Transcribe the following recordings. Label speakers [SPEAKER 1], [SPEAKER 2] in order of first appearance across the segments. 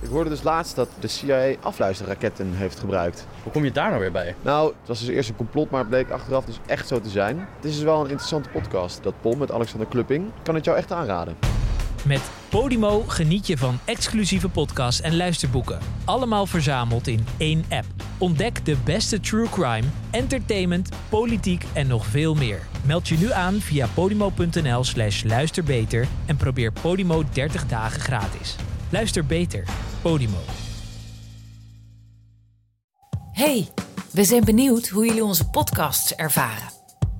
[SPEAKER 1] Ik hoorde dus laatst dat de CIA afluisterraketten heeft gebruikt.
[SPEAKER 2] Hoe kom je daar nou weer bij?
[SPEAKER 1] Nou, het was dus eerst een complot, maar het bleek achteraf dus echt zo te zijn. Het is dus wel een interessante podcast, dat Pol met Alexander Klupping. Ik kan het jou echt aanraden.
[SPEAKER 3] Met Podimo geniet je van exclusieve podcasts en luisterboeken. Allemaal verzameld in één app. Ontdek de beste true crime, entertainment, politiek en nog veel meer. Meld je nu aan via podimo.nl slash luisterbeter en probeer Podimo 30 dagen gratis. Luister beter. Podimo.
[SPEAKER 4] Hey, we zijn benieuwd hoe jullie onze podcasts ervaren.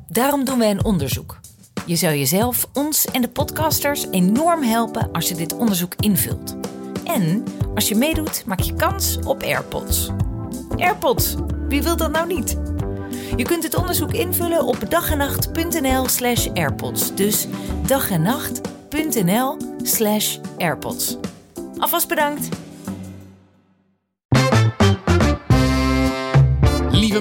[SPEAKER 4] Daarom doen wij een onderzoek. Je zou jezelf, ons en de podcasters enorm helpen als je dit onderzoek invult. En als je meedoet, maak je kans op AirPods. AirPods, wie wil dat nou niet? Je kunt het onderzoek invullen op dagenacht.nl/slash AirPods. Dus dagenacht.nl/slash AirPods. Alvast bedankt.
[SPEAKER 5] Lieve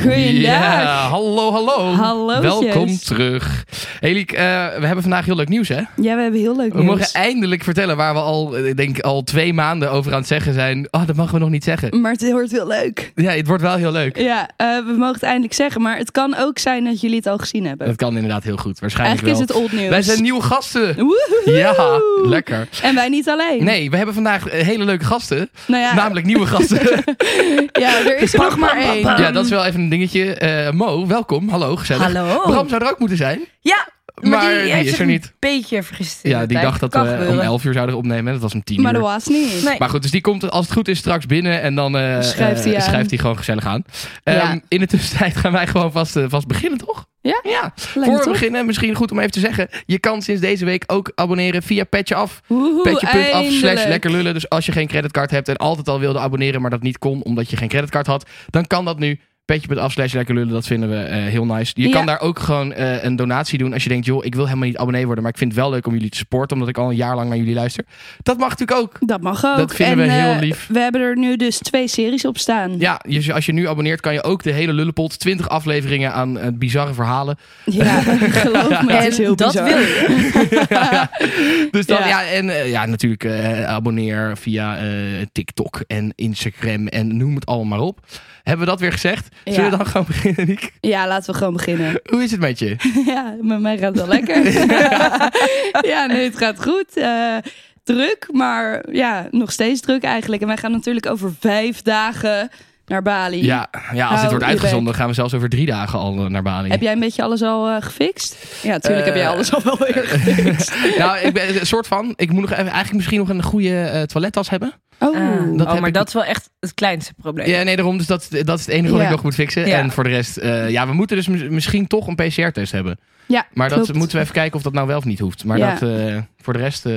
[SPEAKER 6] Goeiedag.
[SPEAKER 5] hallo, hallo.
[SPEAKER 6] Hallootjes.
[SPEAKER 5] Welkom terug. Heliek, we hebben vandaag heel leuk nieuws, hè?
[SPEAKER 6] Ja, we hebben heel leuk
[SPEAKER 5] We mogen eindelijk vertellen waar we al, eh, ik denk al twee maanden over aan het zeggen zijn. Oh, dat mogen we nog niet zeggen.
[SPEAKER 6] Maar het wordt heel leuk.
[SPEAKER 5] Ja, het wordt wel heel leuk.
[SPEAKER 6] Ja, eh, we mogen het eindelijk zeggen, maar het kan ook zijn dat jullie het al gezien hebben.
[SPEAKER 5] Dat kan inderdaad heel goed. Waarschijnlijk
[SPEAKER 6] Eigenlijk is
[SPEAKER 5] wel.
[SPEAKER 6] het old nieuws.
[SPEAKER 5] Wij zijn nieuwe gasten.
[SPEAKER 6] Woehoe.
[SPEAKER 5] Ja, lekker.
[SPEAKER 6] En wij niet alleen.
[SPEAKER 5] Nee, we hebben vandaag eh, hele leuke gasten.
[SPEAKER 6] Nou ja,
[SPEAKER 5] Namelijk nieuwe gasten.
[SPEAKER 6] ja, er is er nog maar één.
[SPEAKER 5] ja, dat is wel even een dingetje. Eh, Mo, welkom. Hallo, gezellig.
[SPEAKER 7] Hallo.
[SPEAKER 5] Bram zou er ook moeten zijn.
[SPEAKER 7] Ja,
[SPEAKER 5] Maar die
[SPEAKER 7] heeft
[SPEAKER 5] is
[SPEAKER 7] zich
[SPEAKER 5] er niet.
[SPEAKER 7] Een beetje vergist. in
[SPEAKER 5] Ja,
[SPEAKER 7] de
[SPEAKER 5] die
[SPEAKER 7] tijd.
[SPEAKER 5] dacht dat
[SPEAKER 7] Kan
[SPEAKER 5] we om
[SPEAKER 7] gebeuren.
[SPEAKER 5] 11 uur zouden opnemen. Dat was om 10
[SPEAKER 6] Maar dat
[SPEAKER 5] uur.
[SPEAKER 6] was niet.
[SPEAKER 7] Nee.
[SPEAKER 5] Maar goed, dus die komt als het goed is straks binnen en dan eh,
[SPEAKER 6] Schrijft
[SPEAKER 5] eh,
[SPEAKER 6] hij aan.
[SPEAKER 5] schrijft hij gewoon gezellig aan. Ehm,
[SPEAKER 6] Ja.
[SPEAKER 5] In de tussentijd gaan wij gewoon vast, eh, vast beginnen, toch?
[SPEAKER 6] Ja?
[SPEAKER 5] Ja.
[SPEAKER 6] Leuk,
[SPEAKER 5] Voor we
[SPEAKER 6] toch?
[SPEAKER 5] beginnen, misschien goed om even te zeggen. Je kan sinds deze week ook abonneren via Petje Af.
[SPEAKER 6] Woehoe,
[SPEAKER 5] Petje.af slash
[SPEAKER 6] eindelijk.
[SPEAKER 5] lekker lullen. Dus als je geen creditcard hebt en altijd al wilde abonneren, maar dat niet kon omdat je geen creditcard had, dan kan dat nu. Petje.af slash lekker lullen, dat vinden we eh, heel nice. Je
[SPEAKER 6] Ja.
[SPEAKER 5] kan daar ook gewoon eh, een donatie doen als je denkt, joh, ik wil helemaal niet abonnee worden, maar ik vind het wel leuk om jullie te supporten, omdat ik al een jaar lang naar jullie luister. Dat mag natuurlijk ook.
[SPEAKER 6] Dat mag ook.
[SPEAKER 5] Dat vinden
[SPEAKER 6] en,
[SPEAKER 5] we heel
[SPEAKER 6] eh,
[SPEAKER 5] lief.
[SPEAKER 6] we hebben er nu dus twee series op staan.
[SPEAKER 5] Ja, je- als je nu abonneert, kan je ook de hele Lullepot, 20 afleveringen aan eh, bizarre verhalen.
[SPEAKER 6] Ja, geloof me, het is heel
[SPEAKER 7] dat
[SPEAKER 6] bizar.
[SPEAKER 7] wil je.
[SPEAKER 5] Dus dan, ja.
[SPEAKER 6] Ja.
[SPEAKER 5] en eh, ja, natuurlijk eh, abonneer via eh, TikTok en Instagram en noem het allemaal maar op. Hebben we dat weer gezegd? Zullen
[SPEAKER 6] Ja.
[SPEAKER 5] we dan gewoon beginnen, Niek?
[SPEAKER 6] Ja, laten we gewoon beginnen.
[SPEAKER 5] Hoe is het met je?
[SPEAKER 6] Ja, met mij gaat het wel lekker. ja, nee, het gaat goed. Eh, druk, maar ja, nog steeds druk eigenlijk. En wij gaan natuurlijk over vijf dagen naar Bali.
[SPEAKER 5] Ja, ja als
[SPEAKER 6] Hou
[SPEAKER 5] dit wordt
[SPEAKER 6] je
[SPEAKER 5] uitgezonden,
[SPEAKER 6] bek.
[SPEAKER 5] gaan we zelfs over drie dagen al eh, naar Bali.
[SPEAKER 6] Heb jij een beetje alles al eh, gefixt? Ja, natuurlijk
[SPEAKER 5] Eh,
[SPEAKER 6] heb jij alles al wel weer gefixt.
[SPEAKER 5] Nou, ik ben een soort van. Ik moet nog even, eigenlijk misschien nog een goede eh, toilettas hebben.
[SPEAKER 6] Oh,
[SPEAKER 7] Ah,
[SPEAKER 5] Dat
[SPEAKER 7] oh,
[SPEAKER 5] heb
[SPEAKER 7] maar
[SPEAKER 5] ik-
[SPEAKER 7] dat is wel echt het kleinste probleem.
[SPEAKER 5] Ja, nee, daarom. Dus dat, dat is het enige wat
[SPEAKER 6] Ja.
[SPEAKER 5] ik nog moet fixen.
[SPEAKER 7] Ja.
[SPEAKER 5] En voor de rest, eh, ja, we moeten dus mis- misschien toch een PCR-test hebben.
[SPEAKER 6] ja,
[SPEAKER 5] Maar dat
[SPEAKER 6] klopt.
[SPEAKER 5] moeten we even kijken of dat nou wel of niet hoeft. Maar
[SPEAKER 6] Ja.
[SPEAKER 5] dat, eh, voor de rest... eh,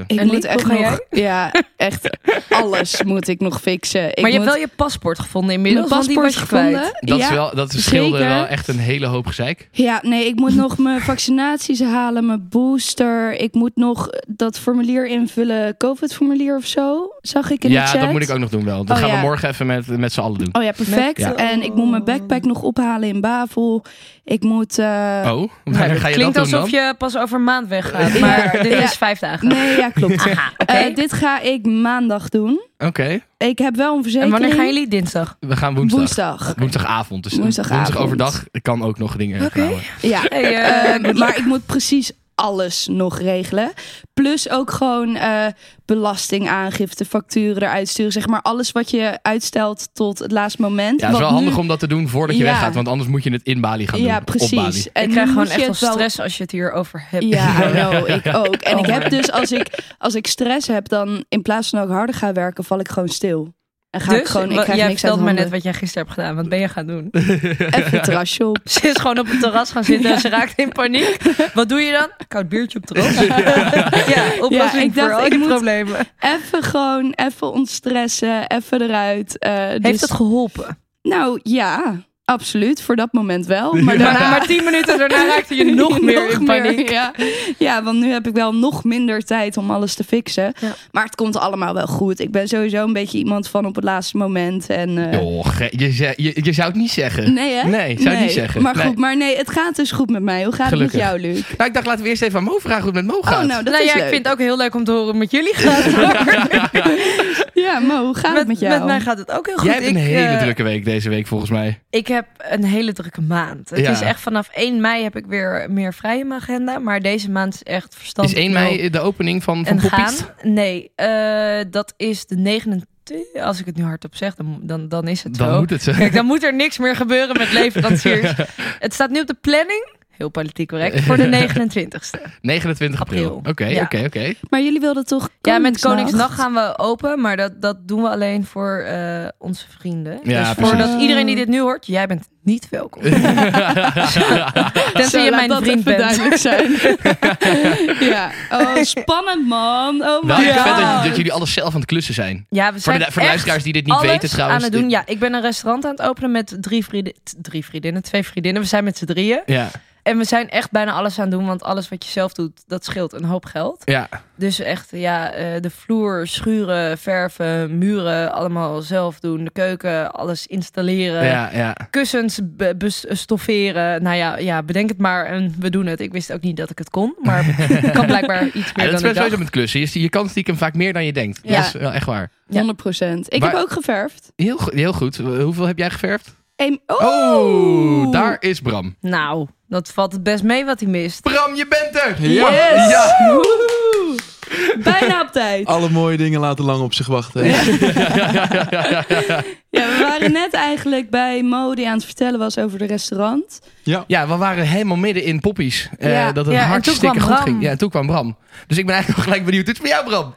[SPEAKER 6] Ik
[SPEAKER 7] En
[SPEAKER 6] moet
[SPEAKER 7] Liek,
[SPEAKER 6] echt
[SPEAKER 7] hoe ga
[SPEAKER 6] nog, ja, echt alles moet ik nog fixen. Ik
[SPEAKER 7] maar je
[SPEAKER 6] moet
[SPEAKER 7] hebt wel je paspoort gevonden
[SPEAKER 6] mijn
[SPEAKER 7] inmiddels. want die
[SPEAKER 6] paspoort
[SPEAKER 7] was je kwijt.
[SPEAKER 6] gevonden.
[SPEAKER 5] dat,
[SPEAKER 6] ja.
[SPEAKER 5] is wel, dat scheelde
[SPEAKER 6] zeker.
[SPEAKER 5] wel echt een hele hoop gezeik.
[SPEAKER 6] Ja, nee, ik moet nog mijn vaccinaties halen, mijn booster. Ik moet nog dat formulier invullen, COVID-formulier of zo. Zag ik in
[SPEAKER 5] ja,
[SPEAKER 6] de chat.
[SPEAKER 5] dat moet ik ook nog doen wel. Dat
[SPEAKER 6] Oh,
[SPEAKER 5] gaan we
[SPEAKER 6] ja.
[SPEAKER 5] morgen even met, met z'n allen doen.
[SPEAKER 6] Oh ja, perfect.
[SPEAKER 5] Ja.
[SPEAKER 6] En ik moet mijn backpack nog ophalen in Bavel. Ik moet... eh,
[SPEAKER 5] Oh, waar
[SPEAKER 7] Het
[SPEAKER 5] ga je dat
[SPEAKER 7] klinkt
[SPEAKER 5] doen
[SPEAKER 7] alsof
[SPEAKER 5] dan?
[SPEAKER 7] je pas over een maand weggaat. Maar dit
[SPEAKER 6] Ja.
[SPEAKER 7] is vijf dagen.
[SPEAKER 6] Nee, ja, klopt.
[SPEAKER 7] Aha, oké.
[SPEAKER 6] Eh, dit ga ik maandag doen.
[SPEAKER 5] Oké,
[SPEAKER 6] Ik heb wel een
[SPEAKER 7] en
[SPEAKER 6] verzekering.
[SPEAKER 7] wanneer gaan jullie dinsdag?
[SPEAKER 5] we gaan woensdag.
[SPEAKER 6] Woensdag.
[SPEAKER 5] Woensdagavond. Dus
[SPEAKER 6] Woensdagavond.
[SPEAKER 5] woensdag overdag kan ook nog dingen eh,
[SPEAKER 7] Oké.
[SPEAKER 5] gebeuren.
[SPEAKER 6] Ja,
[SPEAKER 7] Hey, eh,
[SPEAKER 6] Eh, maar ik moet precies alles nog regelen. Plus ook gewoon eh, belastingaangifte, facturen eruit sturen. Zeg maar alles wat je uitstelt tot het laatste moment.
[SPEAKER 5] Ja, het is
[SPEAKER 6] Want
[SPEAKER 5] wel handig
[SPEAKER 6] nu-
[SPEAKER 5] om dat te doen voordat je
[SPEAKER 6] Ja.
[SPEAKER 5] weggaat. Want anders moet je het in Bali gaan doen.
[SPEAKER 6] Ja,
[SPEAKER 5] op Bali.
[SPEAKER 6] precies.
[SPEAKER 7] ik
[SPEAKER 6] nu
[SPEAKER 7] krijg gewoon
[SPEAKER 6] moet je
[SPEAKER 7] echt wel
[SPEAKER 6] het wel-
[SPEAKER 7] stress als je het hierover hebt.
[SPEAKER 6] Ja, I know, ik ook. En ik
[SPEAKER 7] Oh
[SPEAKER 6] heb
[SPEAKER 7] my.
[SPEAKER 6] dus, als ik, als ik stress heb, dan in plaats van dat ik harder ga werken, val ik gewoon stil. En ga ik
[SPEAKER 7] dus,
[SPEAKER 6] gewoon, ik
[SPEAKER 7] wa-
[SPEAKER 6] krijg
[SPEAKER 7] jij
[SPEAKER 6] niks uit
[SPEAKER 7] vertelde maar net
[SPEAKER 6] handen.
[SPEAKER 7] wat jij gisteren hebt gedaan. Wat ben je gaan doen?
[SPEAKER 6] Even het terrasje op.
[SPEAKER 7] Ze is gewoon op het terras gaan zitten en ze raakt in paniek. Wat doe je dan? Koud biertje op het terras. ja, oplossing
[SPEAKER 6] ik dacht,
[SPEAKER 7] voor al
[SPEAKER 6] ik
[SPEAKER 7] je
[SPEAKER 6] moet-
[SPEAKER 7] problemen.
[SPEAKER 6] Even gewoon, even ontstressen, even eruit. eh, dus-
[SPEAKER 7] Heeft dat geholpen?
[SPEAKER 6] Nou ja, absoluut. Voor dat moment wel. Maar daarna...
[SPEAKER 7] maar tien minuten daarna raakte je nog meer in paniek.
[SPEAKER 6] ja. ja, want nu heb ik wel nog minder tijd om alles te fixen.
[SPEAKER 7] Ja.
[SPEAKER 6] Maar het komt allemaal wel goed. Ik ben sowieso een beetje iemand van op het laatste moment. En, eh,
[SPEAKER 5] Joh, ge- je, ze- je, je zou het niet zeggen.
[SPEAKER 6] Nee, hè?
[SPEAKER 5] Nee, zou ik niet zeggen.
[SPEAKER 6] Maar
[SPEAKER 5] Nee.
[SPEAKER 6] goed, maar nee, het gaat dus goed met mij. Hoe gaat
[SPEAKER 5] Gelukkig.
[SPEAKER 6] het met jou, Luc?
[SPEAKER 5] Nou, ik dacht, laten we eerst even aan Mo vragen hoe het met Mo gaat.
[SPEAKER 6] Oh, nou, dat
[SPEAKER 7] nou
[SPEAKER 6] is
[SPEAKER 7] ja,
[SPEAKER 6] leuk.
[SPEAKER 7] ik vind het ook heel leuk om te horen hoe het met jullie gaat.
[SPEAKER 6] Ja, Mo, hoe gaat het met jou?
[SPEAKER 7] mij gaat het ook heel goed.
[SPEAKER 5] Jij hebt een
[SPEAKER 7] Ik,
[SPEAKER 5] hele
[SPEAKER 7] eh,
[SPEAKER 5] drukke week deze week volgens mij.
[SPEAKER 7] Ik heb een hele drukke maand. Het
[SPEAKER 5] Ja.
[SPEAKER 7] is echt vanaf 1 mei heb ik weer meer vrij in mijn agenda. Maar deze maand is echt verstand.
[SPEAKER 5] Is 1 mei eh, de opening van, van
[SPEAKER 7] en gaan?
[SPEAKER 5] Poppies?
[SPEAKER 7] Nee, eh, dat is de 29. Als ik het nu hardop zeg, dan, dan, dan is het
[SPEAKER 5] Dan
[SPEAKER 7] zo.
[SPEAKER 5] moet het eh, zijn.
[SPEAKER 7] Kijk, dan moet er niks meer gebeuren met leveranciers. het staat nu op de planning. Heel politiek correct. Voor de 29ste.
[SPEAKER 5] 29 april.
[SPEAKER 7] April.
[SPEAKER 5] Oké,
[SPEAKER 7] Ja.
[SPEAKER 5] oké, oké.
[SPEAKER 6] Maar jullie wilden toch
[SPEAKER 7] Ja, met
[SPEAKER 6] Koningsnacht?
[SPEAKER 7] Koningsnacht gaan we open. Maar dat, dat doen we alleen voor eh, onze vrienden.
[SPEAKER 5] Ja,
[SPEAKER 7] dus voordat
[SPEAKER 6] precies.
[SPEAKER 7] iedereen die dit nu hoort, jij bent niet welkom.
[SPEAKER 6] Zo,
[SPEAKER 7] Tenzij
[SPEAKER 6] laat
[SPEAKER 7] je mijn
[SPEAKER 6] dat
[SPEAKER 7] vriend
[SPEAKER 6] even
[SPEAKER 7] bent.
[SPEAKER 6] duidelijk zijn. ja. Oh, spannend man. Oh my
[SPEAKER 5] Nou, ik
[SPEAKER 6] god.
[SPEAKER 5] vind dat, dat jullie alles zelf aan het klussen zijn.
[SPEAKER 7] Ja, we
[SPEAKER 5] Voor
[SPEAKER 7] zijn
[SPEAKER 5] de, voor de
[SPEAKER 7] echt
[SPEAKER 5] luisteraars die dit niet
[SPEAKER 7] alles
[SPEAKER 5] weten trouwens.
[SPEAKER 7] aan het doen.
[SPEAKER 5] dit-
[SPEAKER 7] Ja, ik ben een restaurant aan het openen met drie, vriendin, t- drie vriendinnen, twee vriendinnen. We zijn met z'n drieën.
[SPEAKER 5] ja.
[SPEAKER 7] En we zijn echt bijna alles aan het doen, want alles wat je zelf doet, dat scheelt een hoop geld.
[SPEAKER 5] Ja.
[SPEAKER 7] Dus echt, ja, eh, de vloer, schuren, verven, muren, allemaal zelf doen. De keuken, alles installeren.
[SPEAKER 5] ja, ja.
[SPEAKER 7] Kussens be- bes- stofferen. Nou ja, ja, bedenk het maar. En we doen het. Ik wist ook niet dat ik het kon. Maar ik kan blijkbaar iets meer
[SPEAKER 5] Ja, dat is
[SPEAKER 7] dan
[SPEAKER 5] wel
[SPEAKER 7] ik dacht.
[SPEAKER 5] sowieso met klussen. Je, je kan stiekem vaak meer dan je denkt.
[SPEAKER 6] Ja.
[SPEAKER 5] Dat is wel echt waar.
[SPEAKER 6] 100 procent. Ik
[SPEAKER 5] Maar-
[SPEAKER 6] heb ook geverfd. Ehm,
[SPEAKER 5] Heel, go- heel goed. Hoeveel heb jij geverfd?
[SPEAKER 6] Eén-
[SPEAKER 5] Oh,
[SPEAKER 6] oh,
[SPEAKER 5] daar is Bram.
[SPEAKER 7] Nou, dat valt het best mee wat hij mist.
[SPEAKER 5] Bram, je bent er!
[SPEAKER 6] Yes.
[SPEAKER 5] Ja.
[SPEAKER 6] Woehoe. Bijna op tijd.
[SPEAKER 8] Alle mooie dingen laten lang op zich wachten.
[SPEAKER 6] Ja, we waren net eigenlijk bij Mo die aan het vertellen was over de restaurant.
[SPEAKER 5] Ja, we waren helemaal midden in poppies. Eh,
[SPEAKER 6] Ja.
[SPEAKER 5] dat het
[SPEAKER 7] Ja, en toen
[SPEAKER 5] hartstikke
[SPEAKER 7] kwam
[SPEAKER 5] goed
[SPEAKER 7] Bram.
[SPEAKER 5] ging. Ja, en toen kwam Bram. Dus ik ben eigenlijk wel gelijk benieuwd. Het is voor jou, Bram.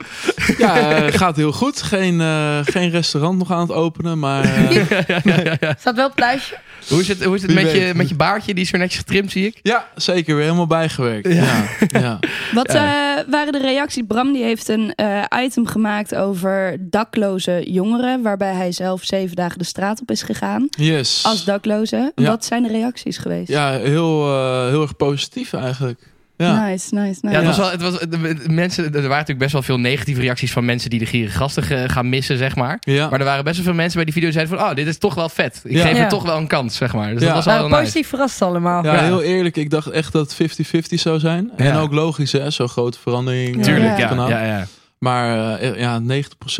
[SPEAKER 8] Ja, eh, gaat heel goed. Geen, eh, geen restaurant nog aan het openen, maar eh,
[SPEAKER 7] Staat wel op het lijstje.
[SPEAKER 5] Hoe is het, hoe is het
[SPEAKER 8] Wie
[SPEAKER 5] met, je,
[SPEAKER 8] weet.
[SPEAKER 5] met je baardje? Die is weer netjes getrimd, zie ik.
[SPEAKER 8] ja, zeker weer helemaal bijgewerkt. Ja. Ja.
[SPEAKER 6] Wat eh, waren de reacties? Bram die heeft een eh, item gemaakt over dakloze jongeren, waarbij hij zelf zeven dagen de straat op is gegaan
[SPEAKER 8] Yes.
[SPEAKER 6] als dakloze.
[SPEAKER 8] Ja.
[SPEAKER 6] Wat zijn de reacties geweest?
[SPEAKER 8] Ja, heel, eh, heel erg positief eigenlijk. Ja.
[SPEAKER 6] Nice, nice, nice.
[SPEAKER 5] Ja, het was wel, het was, de- de- mensen, er waren natuurlijk best wel veel negatieve reacties van mensen die de gierige gasten ge- gaan missen, zeg maar.
[SPEAKER 8] Ja.
[SPEAKER 5] Maar er waren best wel veel mensen bij die video die zeiden van, oh, dit is toch wel vet. Ik
[SPEAKER 8] Ja.
[SPEAKER 5] geef
[SPEAKER 7] Ja. Nou,
[SPEAKER 5] het toch wel een kans, zeg maar. Dus
[SPEAKER 8] Ja.
[SPEAKER 5] dat was
[SPEAKER 7] We
[SPEAKER 5] wel
[SPEAKER 7] waren
[SPEAKER 5] heel nice.
[SPEAKER 7] Eh, positief verrast allemaal.
[SPEAKER 8] Ja,
[SPEAKER 5] Ja.
[SPEAKER 8] heel eerlijk, ik dacht echt dat het 50-50 zou zijn. En
[SPEAKER 5] Ja.
[SPEAKER 8] ook logisch, hè? Zo'n grote verandering. eh,
[SPEAKER 5] Tuurlijk, ja.
[SPEAKER 8] van
[SPEAKER 5] ja,
[SPEAKER 8] af.
[SPEAKER 5] ja, ja.
[SPEAKER 8] Maar eh, ja,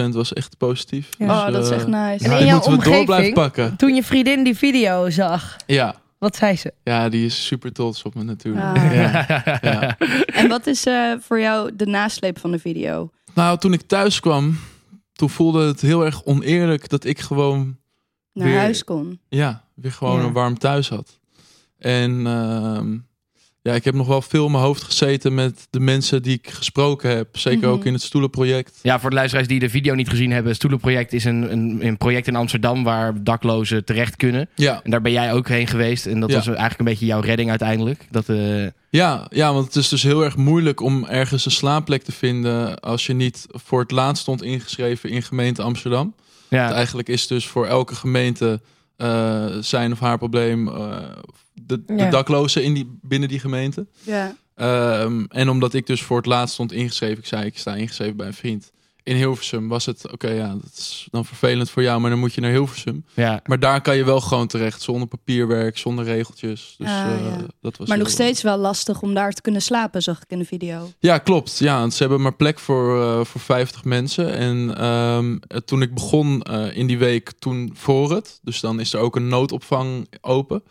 [SPEAKER 8] 90% was echt positief.
[SPEAKER 7] Ja.
[SPEAKER 6] Oh,
[SPEAKER 8] Dus,
[SPEAKER 6] dat is
[SPEAKER 8] eh,
[SPEAKER 6] echt nice.
[SPEAKER 7] En
[SPEAKER 8] dat
[SPEAKER 7] in jouw
[SPEAKER 8] moeten we door blijven
[SPEAKER 7] omgeving,
[SPEAKER 8] pakken.
[SPEAKER 7] toen je vriendin die video zag,
[SPEAKER 8] Ja.
[SPEAKER 7] wat zei ze?
[SPEAKER 8] ja, die is super trots op me natuurlijk.
[SPEAKER 6] Ah.
[SPEAKER 8] Ja. Ja.
[SPEAKER 6] En wat is eh, voor jou de nasleep van de video?
[SPEAKER 8] Nou, toen ik thuis kwam, toen voelde het heel erg oneerlijk dat ik gewoon,
[SPEAKER 6] Naar
[SPEAKER 8] Weer-
[SPEAKER 6] huis kon.
[SPEAKER 8] ja, weer gewoon
[SPEAKER 7] Ja.
[SPEAKER 8] een warm thuis had. En ehm, ja, ik heb nog wel veel in mijn hoofd gezeten met de mensen die ik gesproken heb. Zeker
[SPEAKER 6] Mhm.
[SPEAKER 8] ook in het stoelenproject.
[SPEAKER 5] Ja, voor de luisteraars die de video niet gezien hebben, het Stoelenproject is een, een, een project in Amsterdam waar daklozen terecht kunnen.
[SPEAKER 8] Ja,
[SPEAKER 5] En daar ben jij ook heen geweest. En dat
[SPEAKER 8] Ja.
[SPEAKER 5] was eigenlijk een beetje jouw redding uiteindelijk. Dat, eh,
[SPEAKER 8] ja, ja, want het is dus heel erg moeilijk om ergens een slaapplek te vinden als je niet voor het laatst stond ingeschreven in gemeente Amsterdam.
[SPEAKER 5] ja.
[SPEAKER 8] Want Eigenlijk is dus voor elke gemeente eh, zijn of haar probleem eh, de, de
[SPEAKER 7] Ja.
[SPEAKER 8] daklozen in die, binnen die gemeente.
[SPEAKER 6] Ja.
[SPEAKER 8] Ehm, en omdat ik dus voor het laatst stond ingeschreven, ik zei ik sta ingeschreven bij een vriend. In Hilversum was het, oké ja, dat is dan vervelend voor jou, maar dan moet je naar Hilversum.
[SPEAKER 5] ja.
[SPEAKER 8] Maar daar kan je wel gewoon terecht, zonder papierwerk, zonder regeltjes. Dus
[SPEAKER 6] Ah,
[SPEAKER 8] eh,
[SPEAKER 6] ja.
[SPEAKER 8] dat was
[SPEAKER 6] Maar
[SPEAKER 8] heel-
[SPEAKER 6] nog steeds wel lastig om daar te kunnen slapen, zag ik in de video.
[SPEAKER 8] Ja, klopt. Ja, want ze hebben maar plek voor, eh, voor 50 mensen. En ehm, eh, toen ik begon eh, in die week, toen voor het. Dus dan is er ook een noodopvang open.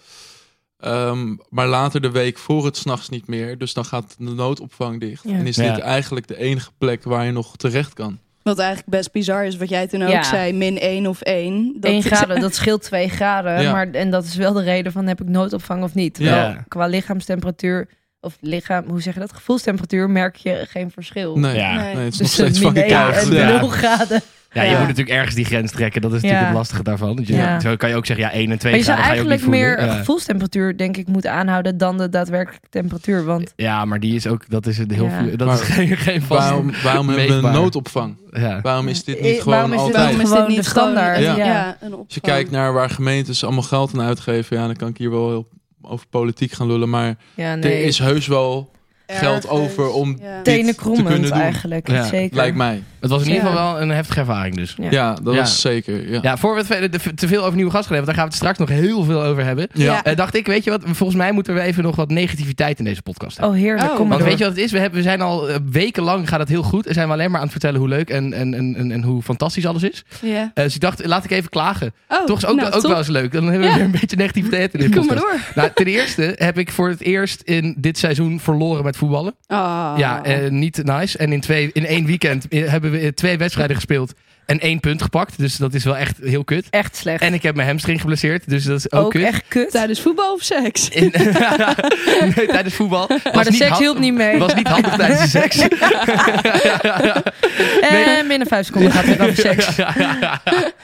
[SPEAKER 8] Ehm, maar later de week voor het s'nachts niet meer. Dus dan gaat de noodopvang dicht.
[SPEAKER 7] Ja.
[SPEAKER 8] En is
[SPEAKER 5] Ja.
[SPEAKER 8] dit eigenlijk de enige plek waar je nog terecht kan.
[SPEAKER 6] Wat eigenlijk best bizar is, wat jij toen ook
[SPEAKER 7] Ja.
[SPEAKER 6] zei, min 1 of 1.
[SPEAKER 7] Eén graden, dat scheelt twee graden.
[SPEAKER 8] Ja.
[SPEAKER 7] Maar, en dat is wel de reden van heb ik noodopvang of niet.
[SPEAKER 8] Ja.
[SPEAKER 7] Terwijl Qua lichaamstemperatuur, of lichaam, hoe zeg je dat? Gevoelstemperatuur merk je geen verschil.
[SPEAKER 8] Nee,
[SPEAKER 5] Ja.
[SPEAKER 8] nee het
[SPEAKER 7] Dus
[SPEAKER 8] is nog steeds
[SPEAKER 7] min
[SPEAKER 8] fucking
[SPEAKER 7] één
[SPEAKER 8] koud.
[SPEAKER 7] en
[SPEAKER 8] Ja.
[SPEAKER 7] nul graden.
[SPEAKER 5] Ja, je
[SPEAKER 7] Ja.
[SPEAKER 5] moet natuurlijk ergens die grens trekken. Dat is natuurlijk
[SPEAKER 7] Ja.
[SPEAKER 5] het lastige daarvan. Want je-
[SPEAKER 7] Ja.
[SPEAKER 5] Zo kan je ook zeggen, ja, 1 en 2
[SPEAKER 7] Maar je zou
[SPEAKER 5] graden ga je ook niet
[SPEAKER 7] eigenlijk
[SPEAKER 5] voelen.
[SPEAKER 7] meer
[SPEAKER 5] Ja.
[SPEAKER 7] gevoelstemperatuur, denk ik, moeten aanhouden dan de daadwerkelijke temperatuur. Want
[SPEAKER 5] Ja, maar die is ook, dat is een heel
[SPEAKER 7] Ja.
[SPEAKER 5] veel- dat
[SPEAKER 8] Maar
[SPEAKER 5] is geen, geen vast.
[SPEAKER 8] Waarom, waarom hebben we
[SPEAKER 5] Meetbaar.
[SPEAKER 8] een noodopvang?
[SPEAKER 5] Ja.
[SPEAKER 8] Waarom is dit
[SPEAKER 7] Eh,
[SPEAKER 8] niet gewoon
[SPEAKER 7] waarom is dit
[SPEAKER 8] altijd?
[SPEAKER 7] Waarom is dit niet standaard?
[SPEAKER 6] gewoon-
[SPEAKER 7] Ja.
[SPEAKER 6] ja. een opvang?
[SPEAKER 8] Als je kijkt naar waar gemeentes allemaal geld aan uitgeven, ja, dan kan ik hier wel heel over politiek gaan lullen. Maar
[SPEAKER 7] ja, nee.
[SPEAKER 8] er is heus wel geld over om
[SPEAKER 6] Ja.
[SPEAKER 8] dit
[SPEAKER 7] tenen
[SPEAKER 8] te kunnen
[SPEAKER 7] krommend
[SPEAKER 8] doen.
[SPEAKER 7] eigenlijk.
[SPEAKER 5] Ja,
[SPEAKER 7] Zeker.
[SPEAKER 8] Lijkt mij.
[SPEAKER 5] Het was in
[SPEAKER 7] Ja.
[SPEAKER 5] ieder geval wel een heftige ervaring dus.
[SPEAKER 7] Ja.
[SPEAKER 8] Ja, dat
[SPEAKER 5] Ja.
[SPEAKER 8] is zeker. Ja.
[SPEAKER 5] Ja, voor we het verder te- te veel over nieuwe gasten hebben, want daar gaan we het straks nog heel veel over hebben.
[SPEAKER 8] Ja.
[SPEAKER 5] Eh, dacht ik, weet je wat, volgens mij moeten we even nog wat negativiteit in deze podcast hebben.
[SPEAKER 7] Oh, heerlijk.
[SPEAKER 6] Oh.
[SPEAKER 7] Kom maar
[SPEAKER 5] Want
[SPEAKER 7] door.
[SPEAKER 5] weet je wat het is? We, hebben, we zijn al eh, wekenlang gaat het heel goed. En zijn we alleen maar aan het vertellen hoe leuk en, en, en, en, en hoe fantastisch alles is.
[SPEAKER 6] Ja.
[SPEAKER 5] Eh, dus ik dacht, laat ik even klagen.
[SPEAKER 6] Oh,
[SPEAKER 5] Toch is ook,
[SPEAKER 6] nou,
[SPEAKER 5] ook
[SPEAKER 6] top.
[SPEAKER 5] wel eens leuk. Dan hebben we
[SPEAKER 6] Ja.
[SPEAKER 5] weer een beetje negativiteit in dit
[SPEAKER 6] Kom maar
[SPEAKER 5] podcast.
[SPEAKER 6] door.
[SPEAKER 5] Nou, ten eerste heb ik voor het eerst in dit seizoen verloren met voetballen.
[SPEAKER 7] Oh.
[SPEAKER 6] Ah.
[SPEAKER 5] Ja, eh, niet nice. En in, twee, in één weekend eh, hebben we eh, twee wedstrijden gespeeld en één punt gepakt. Dus dat is wel echt heel kut.
[SPEAKER 7] Echt slecht.
[SPEAKER 5] En ik heb mijn hamstring geblesseerd, dus dat is ook,
[SPEAKER 7] ook
[SPEAKER 5] kut.
[SPEAKER 7] echt kut.
[SPEAKER 6] Tijdens voetbal of seks?
[SPEAKER 5] In- nee, tijdens voetbal.
[SPEAKER 7] maar de seks hielp niet mee.
[SPEAKER 5] was niet handig tijdens de seks.
[SPEAKER 7] En Eh, binnen vijf seconden gaat het over seks.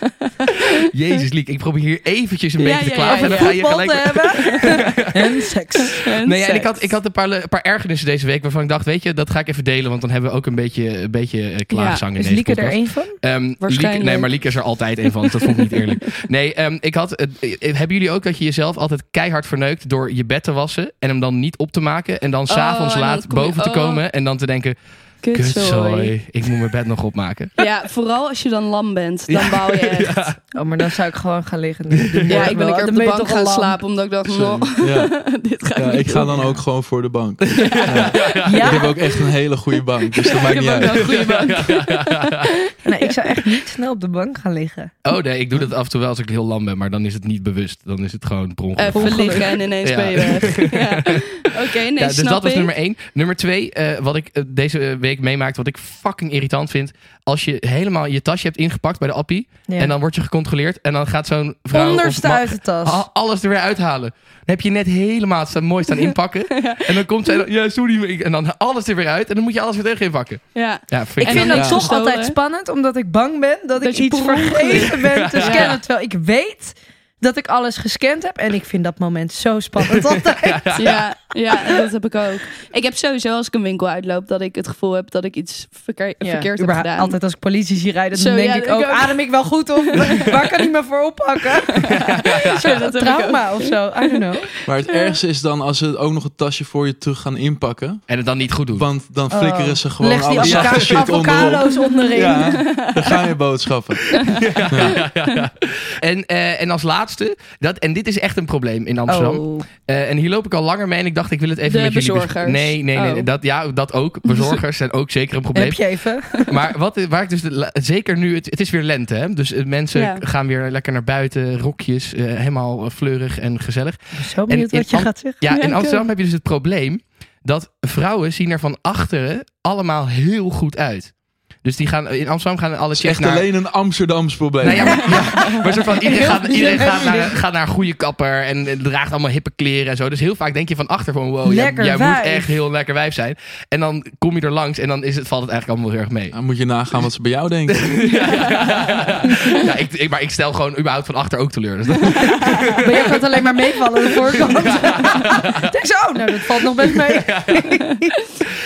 [SPEAKER 5] Jezus, Liek, ik probeer hier eventjes een
[SPEAKER 6] Ja,
[SPEAKER 5] beetje te
[SPEAKER 6] ja,
[SPEAKER 5] klagen.
[SPEAKER 6] ja,
[SPEAKER 5] en dan
[SPEAKER 6] ja.
[SPEAKER 5] ga je
[SPEAKER 7] Voetbal
[SPEAKER 5] gelijk...
[SPEAKER 7] te hebben. en seks.
[SPEAKER 5] Nee, ja, en ik had, ik had een paar, le- een paar ergernissen deze week waarvan ik dacht, weet je, dat ga ik even delen, want dan hebben we ook een beetje, een beetje eh, klaagzang in
[SPEAKER 7] Is
[SPEAKER 5] deze
[SPEAKER 7] Lieke er
[SPEAKER 5] podcast.
[SPEAKER 7] één van?
[SPEAKER 5] Ehm, Lieke-
[SPEAKER 6] Waarschijnlijk.
[SPEAKER 5] nee, maar Lieke is er altijd een van, dus dat vond ik niet eerlijk. Nee, ehm, ik had, het- eh, hebben jullie ook dat je jezelf altijd keihard verneukt door je bed te wassen en hem dan niet op te maken en dan s'avonds
[SPEAKER 6] Oh, en dan
[SPEAKER 5] laat
[SPEAKER 6] kom je-
[SPEAKER 5] boven te
[SPEAKER 6] oh.
[SPEAKER 5] komen en dan te denken,
[SPEAKER 6] Kut, sorry.
[SPEAKER 5] kutzooi, ik moet mijn bed nog opmaken.
[SPEAKER 6] Ja, vooral als je dan lam bent. Dan bouw je echt. Ja,
[SPEAKER 7] Oh, maar dan zou ik gewoon gaan liggen. en doen.
[SPEAKER 6] ik ben een keer op de bank gaan slapen. Omdat ik dacht, no,
[SPEAKER 8] Ja.
[SPEAKER 6] dit ga ik
[SPEAKER 8] Ja,
[SPEAKER 6] niet
[SPEAKER 8] ik ga
[SPEAKER 6] doen.
[SPEAKER 8] dan ook gewoon voor de bank. Ik heb
[SPEAKER 7] Ja,
[SPEAKER 8] ook echt een hele goede bank, dus dat maakt
[SPEAKER 6] Ik
[SPEAKER 8] niet
[SPEAKER 6] heb ook wel
[SPEAKER 8] uit.
[SPEAKER 6] een goede bank.
[SPEAKER 7] nee, ik zou echt niet snel op de bank gaan liggen.
[SPEAKER 5] Oh nee, ik doe dat af en toe wel als ik heel lam ben, maar dan is het niet bewust. Dan is het gewoon per ongeluk.
[SPEAKER 6] Even liggen Eh, en ineens
[SPEAKER 5] Ja.
[SPEAKER 6] ben je weg. Ja. Oké, nee,
[SPEAKER 5] Ja, dus
[SPEAKER 6] snap
[SPEAKER 5] dat was
[SPEAKER 6] ik.
[SPEAKER 5] nummer één. Nummer twee, eh, wat ik eh, deze week meemaakte, wat ik fucking irritant vind. Als je helemaal je tasje hebt ingepakt bij de appie.
[SPEAKER 7] Ja.
[SPEAKER 5] En dan Oh, word je gecontroleerd. En dan gaat zo'n vrouw
[SPEAKER 7] Onderste
[SPEAKER 5] of man-
[SPEAKER 7] uit de tas.
[SPEAKER 5] Al- alles er weer uithalen. Dan heb je net helemaal het staan, mooi staan inpakken. En dan komt zij, dan, ja sorry. maar ik- En dan alles er weer uit. En dan moet je alles weer terug inpakken.
[SPEAKER 6] Ja.
[SPEAKER 5] Ja,
[SPEAKER 7] Ik
[SPEAKER 5] vind
[SPEAKER 6] En
[SPEAKER 7] vind
[SPEAKER 6] dan
[SPEAKER 7] dat
[SPEAKER 6] is
[SPEAKER 7] toch
[SPEAKER 6] gestolen.
[SPEAKER 7] altijd spannend, omdat ik bang ben dat,
[SPEAKER 6] Dat
[SPEAKER 7] ik
[SPEAKER 6] je
[SPEAKER 7] iets
[SPEAKER 6] per ongeluk-
[SPEAKER 7] vergeten ben te
[SPEAKER 6] Ja.
[SPEAKER 7] scannen. Terwijl ik weet dat ik alles gescand heb. En ik vind dat moment zo spannend altijd.
[SPEAKER 6] Ja, ja, dat heb ik ook. Ik heb sowieso als ik een winkel uitloop dat ik het gevoel heb dat ik iets verkeer- verkeerd heb
[SPEAKER 7] Überhaupt,
[SPEAKER 6] gedaan.
[SPEAKER 7] Altijd als ik politie zie rijden, dan
[SPEAKER 6] Zo,
[SPEAKER 7] denk
[SPEAKER 6] ja,
[SPEAKER 7] ik
[SPEAKER 6] ik
[SPEAKER 7] ook,
[SPEAKER 6] ook.
[SPEAKER 7] adem ik wel goed of waar kan ik me voor oppakken?
[SPEAKER 6] Ja, dat heb ik ook.
[SPEAKER 7] Trauma of zo, I don't know.
[SPEAKER 8] Maar het ergste is dan als ze ook nog het tasje voor je terug gaan inpakken.
[SPEAKER 5] En het dan niet goed doen.
[SPEAKER 8] Want dan flikkeren ze gewoon
[SPEAKER 7] Oh. Leg die
[SPEAKER 8] alle
[SPEAKER 7] avoca-
[SPEAKER 8] zachte shit onderop.
[SPEAKER 7] avocado's onderin.
[SPEAKER 8] Ja, dan gaan je boodschappen.
[SPEAKER 5] En, eh, en als laatste, dat, en dit is echt een probleem in Amsterdam.
[SPEAKER 7] Oh.
[SPEAKER 5] Eh, en hier loop ik al langer mee en ik dacht, ik wil het even
[SPEAKER 6] De
[SPEAKER 5] met jullie... bes-
[SPEAKER 6] bezorgers.
[SPEAKER 5] Nee, nee, nee.
[SPEAKER 6] Oh.
[SPEAKER 5] Dat, ja, dat ook. Bezorgers zijn ook zeker een probleem.
[SPEAKER 7] Heb je even?
[SPEAKER 5] Maar wat, waar ik dus, de la- zeker nu, het, het is weer lente, hè? dus eh, mensen
[SPEAKER 6] Ja.
[SPEAKER 5] gaan weer lekker naar buiten, rokjes, eh, helemaal eh, fleurig en gezellig.
[SPEAKER 7] Zo benieuwd
[SPEAKER 5] in
[SPEAKER 7] wat je
[SPEAKER 5] Am-
[SPEAKER 7] gaat zeggen.
[SPEAKER 5] Ja,
[SPEAKER 6] Ja,
[SPEAKER 5] in
[SPEAKER 6] ik
[SPEAKER 5] Amsterdam
[SPEAKER 6] ook.
[SPEAKER 5] heb je dus het probleem dat vrouwen zien er van achteren allemaal heel goed uit. Dus die gaan, in Amsterdam gaan alle
[SPEAKER 8] Het is
[SPEAKER 5] chicks
[SPEAKER 8] echt
[SPEAKER 5] naar...
[SPEAKER 8] alleen een Amsterdams probleem.
[SPEAKER 5] Nou ja, maar, ja, maar soort van, iedereen, gaat,
[SPEAKER 7] Heel
[SPEAKER 5] iedereen
[SPEAKER 7] bizar.
[SPEAKER 5] gaat, naar, gaat naar een goede kapper en eh, draagt allemaal hippe kleren en zo. Dus heel vaak denk je van achter van wow, jij,
[SPEAKER 7] Lekker
[SPEAKER 5] jij
[SPEAKER 7] wijf.
[SPEAKER 5] moet echt heel lekker wijf zijn. En dan kom je er langs en dan is het, valt het eigenlijk allemaal heel erg mee.
[SPEAKER 8] Dan moet je nagaan wat ze bij jou denken.
[SPEAKER 7] Oh.
[SPEAKER 5] Ja, ik, ik- maar ik stel gewoon überhaupt van achter ook teleur. Dus dat-
[SPEAKER 7] Maar je gaat alleen maar meevallen aan de voorkant. Ik denk zo, oh, nou dat valt nog best mee.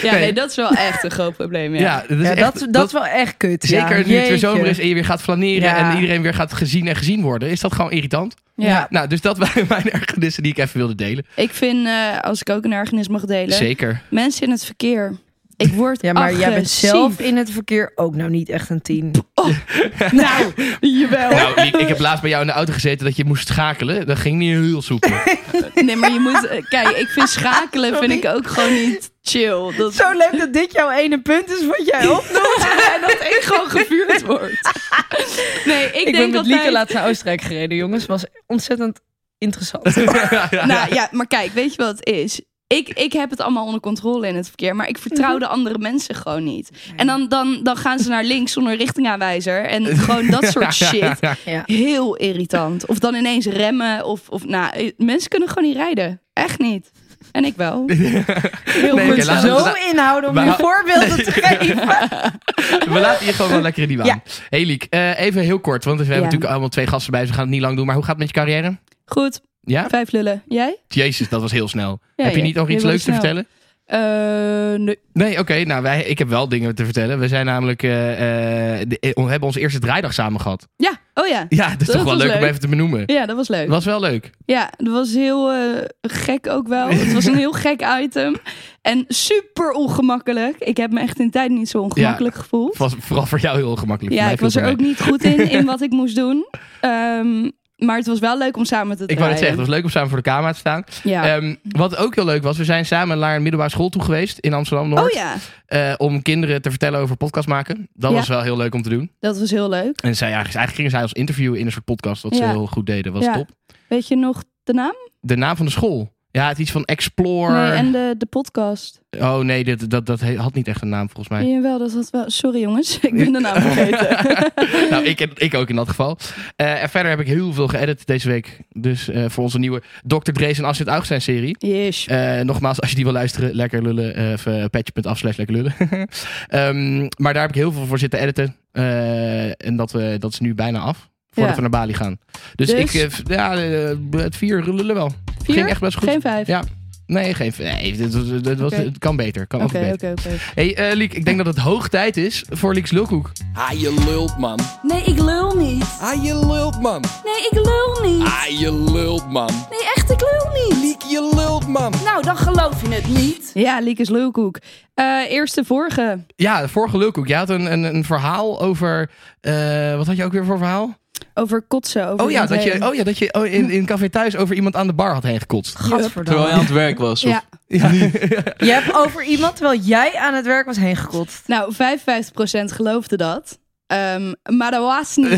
[SPEAKER 6] Ja, nee, dat is wel echt een groot probleem. Ja.
[SPEAKER 5] ja, dat is
[SPEAKER 7] Ja,
[SPEAKER 5] echt-
[SPEAKER 7] dat, dat, is wel Dus echt kut. ja.
[SPEAKER 5] Zeker nu het weer
[SPEAKER 7] Jeetje.
[SPEAKER 5] zomer is en je weer gaat flaneren
[SPEAKER 7] Ja.
[SPEAKER 5] en iedereen weer gaat gezien en gezien worden. Is dat gewoon irritant?
[SPEAKER 7] Ja.
[SPEAKER 5] Nou, dus dat waren mijn ergernissen die ik even wilde delen.
[SPEAKER 6] Ik vind, eh, als ik ook een ergernis mag delen,
[SPEAKER 5] Zeker.
[SPEAKER 6] mensen in het verkeer. Ik word
[SPEAKER 7] Ja, maar jij bent
[SPEAKER 6] agressief.
[SPEAKER 7] zelf in het verkeer ook nou niet echt een tien.
[SPEAKER 6] Nou, jawel.
[SPEAKER 5] Nou, Liek, ik heb laatst bij jou in de auto gezeten dat je moest schakelen. Dat ging niet heel soepel.
[SPEAKER 6] Nee, maar je moet... eh, Kijk, ik vind schakelen vind ik ook gewoon niet chill. Dat,
[SPEAKER 7] Zo leuk dat dit jouw ene punt is wat jij opnoemt.
[SPEAKER 6] en dat ik gewoon gevuurd word. Nee, ik,
[SPEAKER 7] Ik,
[SPEAKER 6] denk
[SPEAKER 7] ben met
[SPEAKER 6] dat
[SPEAKER 7] Lieke laatst naar Oostenrijk gereden, jongens. was ontzettend interessant.
[SPEAKER 6] Nou ja, maar kijk, weet je wat het is? Ik, ik heb het allemaal onder controle in het verkeer, maar ik
[SPEAKER 5] Mhm.
[SPEAKER 6] vertrouw de andere mensen gewoon niet. En dan, dan, dan gaan ze naar links zonder richtingaanwijzer en gewoon dat soort shit.
[SPEAKER 7] Ja.
[SPEAKER 6] Heel irritant. Of dan ineens remmen of, of nou, eh, mensen kunnen gewoon niet rijden. Echt niet. En ik wel.
[SPEAKER 7] Heel
[SPEAKER 5] Nee,
[SPEAKER 7] goed
[SPEAKER 5] oké, laten we-
[SPEAKER 7] zo
[SPEAKER 5] la-
[SPEAKER 7] inhouden om
[SPEAKER 5] we
[SPEAKER 7] je
[SPEAKER 5] hou-
[SPEAKER 7] voorbeelden te geven.
[SPEAKER 5] We laten je gewoon wel lekker in die baan.
[SPEAKER 7] Ja.
[SPEAKER 5] Hey Liek, eh, even heel kort, want we hebben
[SPEAKER 6] Ja.
[SPEAKER 5] natuurlijk allemaal twee gasten bij. Dus we gaan het niet lang doen. Maar hoe gaat het met je carrière?
[SPEAKER 6] Goed,
[SPEAKER 5] Ja?
[SPEAKER 6] vijf lullen. Jij?
[SPEAKER 5] Jezus, dat was heel snel.
[SPEAKER 6] Ja,
[SPEAKER 5] Heb je
[SPEAKER 6] ja.
[SPEAKER 5] niet nog
[SPEAKER 6] Je
[SPEAKER 5] iets
[SPEAKER 6] wil
[SPEAKER 5] leuks te
[SPEAKER 6] snel.
[SPEAKER 5] vertellen?
[SPEAKER 6] Eh, nee.
[SPEAKER 5] Nee, oké. nou, wij, ik heb wel dingen te vertellen. We zijn namelijk, eh, eh, de- eh, we hebben onze eerste draaidag samen gehad.
[SPEAKER 6] Ja, oh ja.
[SPEAKER 5] Ja, dat is
[SPEAKER 6] Dat
[SPEAKER 5] toch wel
[SPEAKER 6] was
[SPEAKER 5] leuk, om
[SPEAKER 6] leuk.
[SPEAKER 5] even te benoemen.
[SPEAKER 6] Ja, dat was leuk.
[SPEAKER 5] Was wel leuk.
[SPEAKER 6] Ja, dat was heel eh, gek ook wel. Het was een heel gek item. En super ongemakkelijk. Ik heb me echt in tijd niet zo ongemakkelijk gevoeld.
[SPEAKER 5] Was vooral voor jou heel ongemakkelijk. Voor
[SPEAKER 6] Ja,
[SPEAKER 5] mij
[SPEAKER 6] ik
[SPEAKER 5] viel
[SPEAKER 6] was er
[SPEAKER 5] het
[SPEAKER 6] ook niet goed in, in wat ik moest doen. Ehm, maar het was wel leuk om samen te
[SPEAKER 5] mee. Ik wou
[SPEAKER 6] draaien.
[SPEAKER 5] net zeggen, het was leuk om samen voor de camera te staan.
[SPEAKER 6] Ja.
[SPEAKER 5] Ehm, wat ook heel leuk was, we zijn samen naar een middelbare school toe geweest in Amsterdam-Noord.
[SPEAKER 6] oh ja,
[SPEAKER 5] eh, om kinderen te vertellen over podcast maken. Dat
[SPEAKER 6] Ja.
[SPEAKER 5] was wel heel leuk om te doen.
[SPEAKER 6] dat was heel leuk.
[SPEAKER 5] En zij, eigenlijk, eigenlijk gingen zij als interview in een soort podcast, wat ze
[SPEAKER 6] Ja.
[SPEAKER 5] heel goed deden. Was
[SPEAKER 6] Ja.
[SPEAKER 5] top.
[SPEAKER 6] Weet je nog de naam?
[SPEAKER 5] De naam van de school. Ja, het is iets van Explore.
[SPEAKER 6] Nee, en de, de podcast.
[SPEAKER 5] Oh nee, dat, dat, dat he- had niet echt een naam volgens mij.
[SPEAKER 6] Jawel, dat had wel... Sorry jongens, ik ben de naam vergeten.
[SPEAKER 5] nou, ik, ik ook in dat geval. Eh, en verder heb ik heel veel geëdit deze week. Dus eh, voor onze nieuwe Dr. Drees en Astrid Augustijn serie.
[SPEAKER 6] Yes.
[SPEAKER 5] Eh, nogmaals, als je die wil luisteren, lekker lullen. eh, of eh, patch.af slash lekker lullen. Ehm, maar daar heb ik heel veel voor zitten editen. Eh, en dat, we dat is nu bijna af. Voordat
[SPEAKER 6] Ja.
[SPEAKER 5] we naar Bali gaan. Dus,
[SPEAKER 6] Dus?
[SPEAKER 5] ik, eh, v- ja, eh, het vier lullen wel. Ging
[SPEAKER 6] Vier?
[SPEAKER 5] echt best goed.
[SPEAKER 6] Geen vijf?
[SPEAKER 5] Ja. Nee, geen, nee dit, was- dit was,
[SPEAKER 6] Oké.
[SPEAKER 5] het kan beter. Kan altijd
[SPEAKER 6] Oké,
[SPEAKER 5] beter.
[SPEAKER 6] oké, oké.
[SPEAKER 5] Hey eh, Liek, ik denk dat het hoog tijd is voor Liek's Lulkoek.
[SPEAKER 9] Ah, je lult, man.
[SPEAKER 10] Nee, ik lul niet.
[SPEAKER 9] Ah, je lult, man.
[SPEAKER 10] Nee, ik lul niet.
[SPEAKER 9] Ah, je lult, man.
[SPEAKER 10] Nee, echt, ik lul niet.
[SPEAKER 9] Liek, je lult, man.
[SPEAKER 10] Nou, dan geloof je het niet.
[SPEAKER 6] Ja, Liekes Leeuwkoek. Eh eerst de vorige.
[SPEAKER 5] Ja, de vorige Lulkoek. Je had een, een, een verhaal over... eh, wat had je ook weer voor verhaal?
[SPEAKER 6] Over kotsen. Over
[SPEAKER 5] Oh ja,
[SPEAKER 6] iemand
[SPEAKER 5] dat je,
[SPEAKER 6] heen.
[SPEAKER 5] oh ja, dat je oh, in, in Café Thuis over iemand aan de bar had heen gekotst.
[SPEAKER 8] Terwijl je
[SPEAKER 7] Gadverdamme.
[SPEAKER 8] aan het werk was. of-
[SPEAKER 6] Ja.
[SPEAKER 7] Je hebt over iemand terwijl jij aan het werk was heen gekotst.
[SPEAKER 6] Nou, 55% geloofde dat. Ehm, maar dat was niet.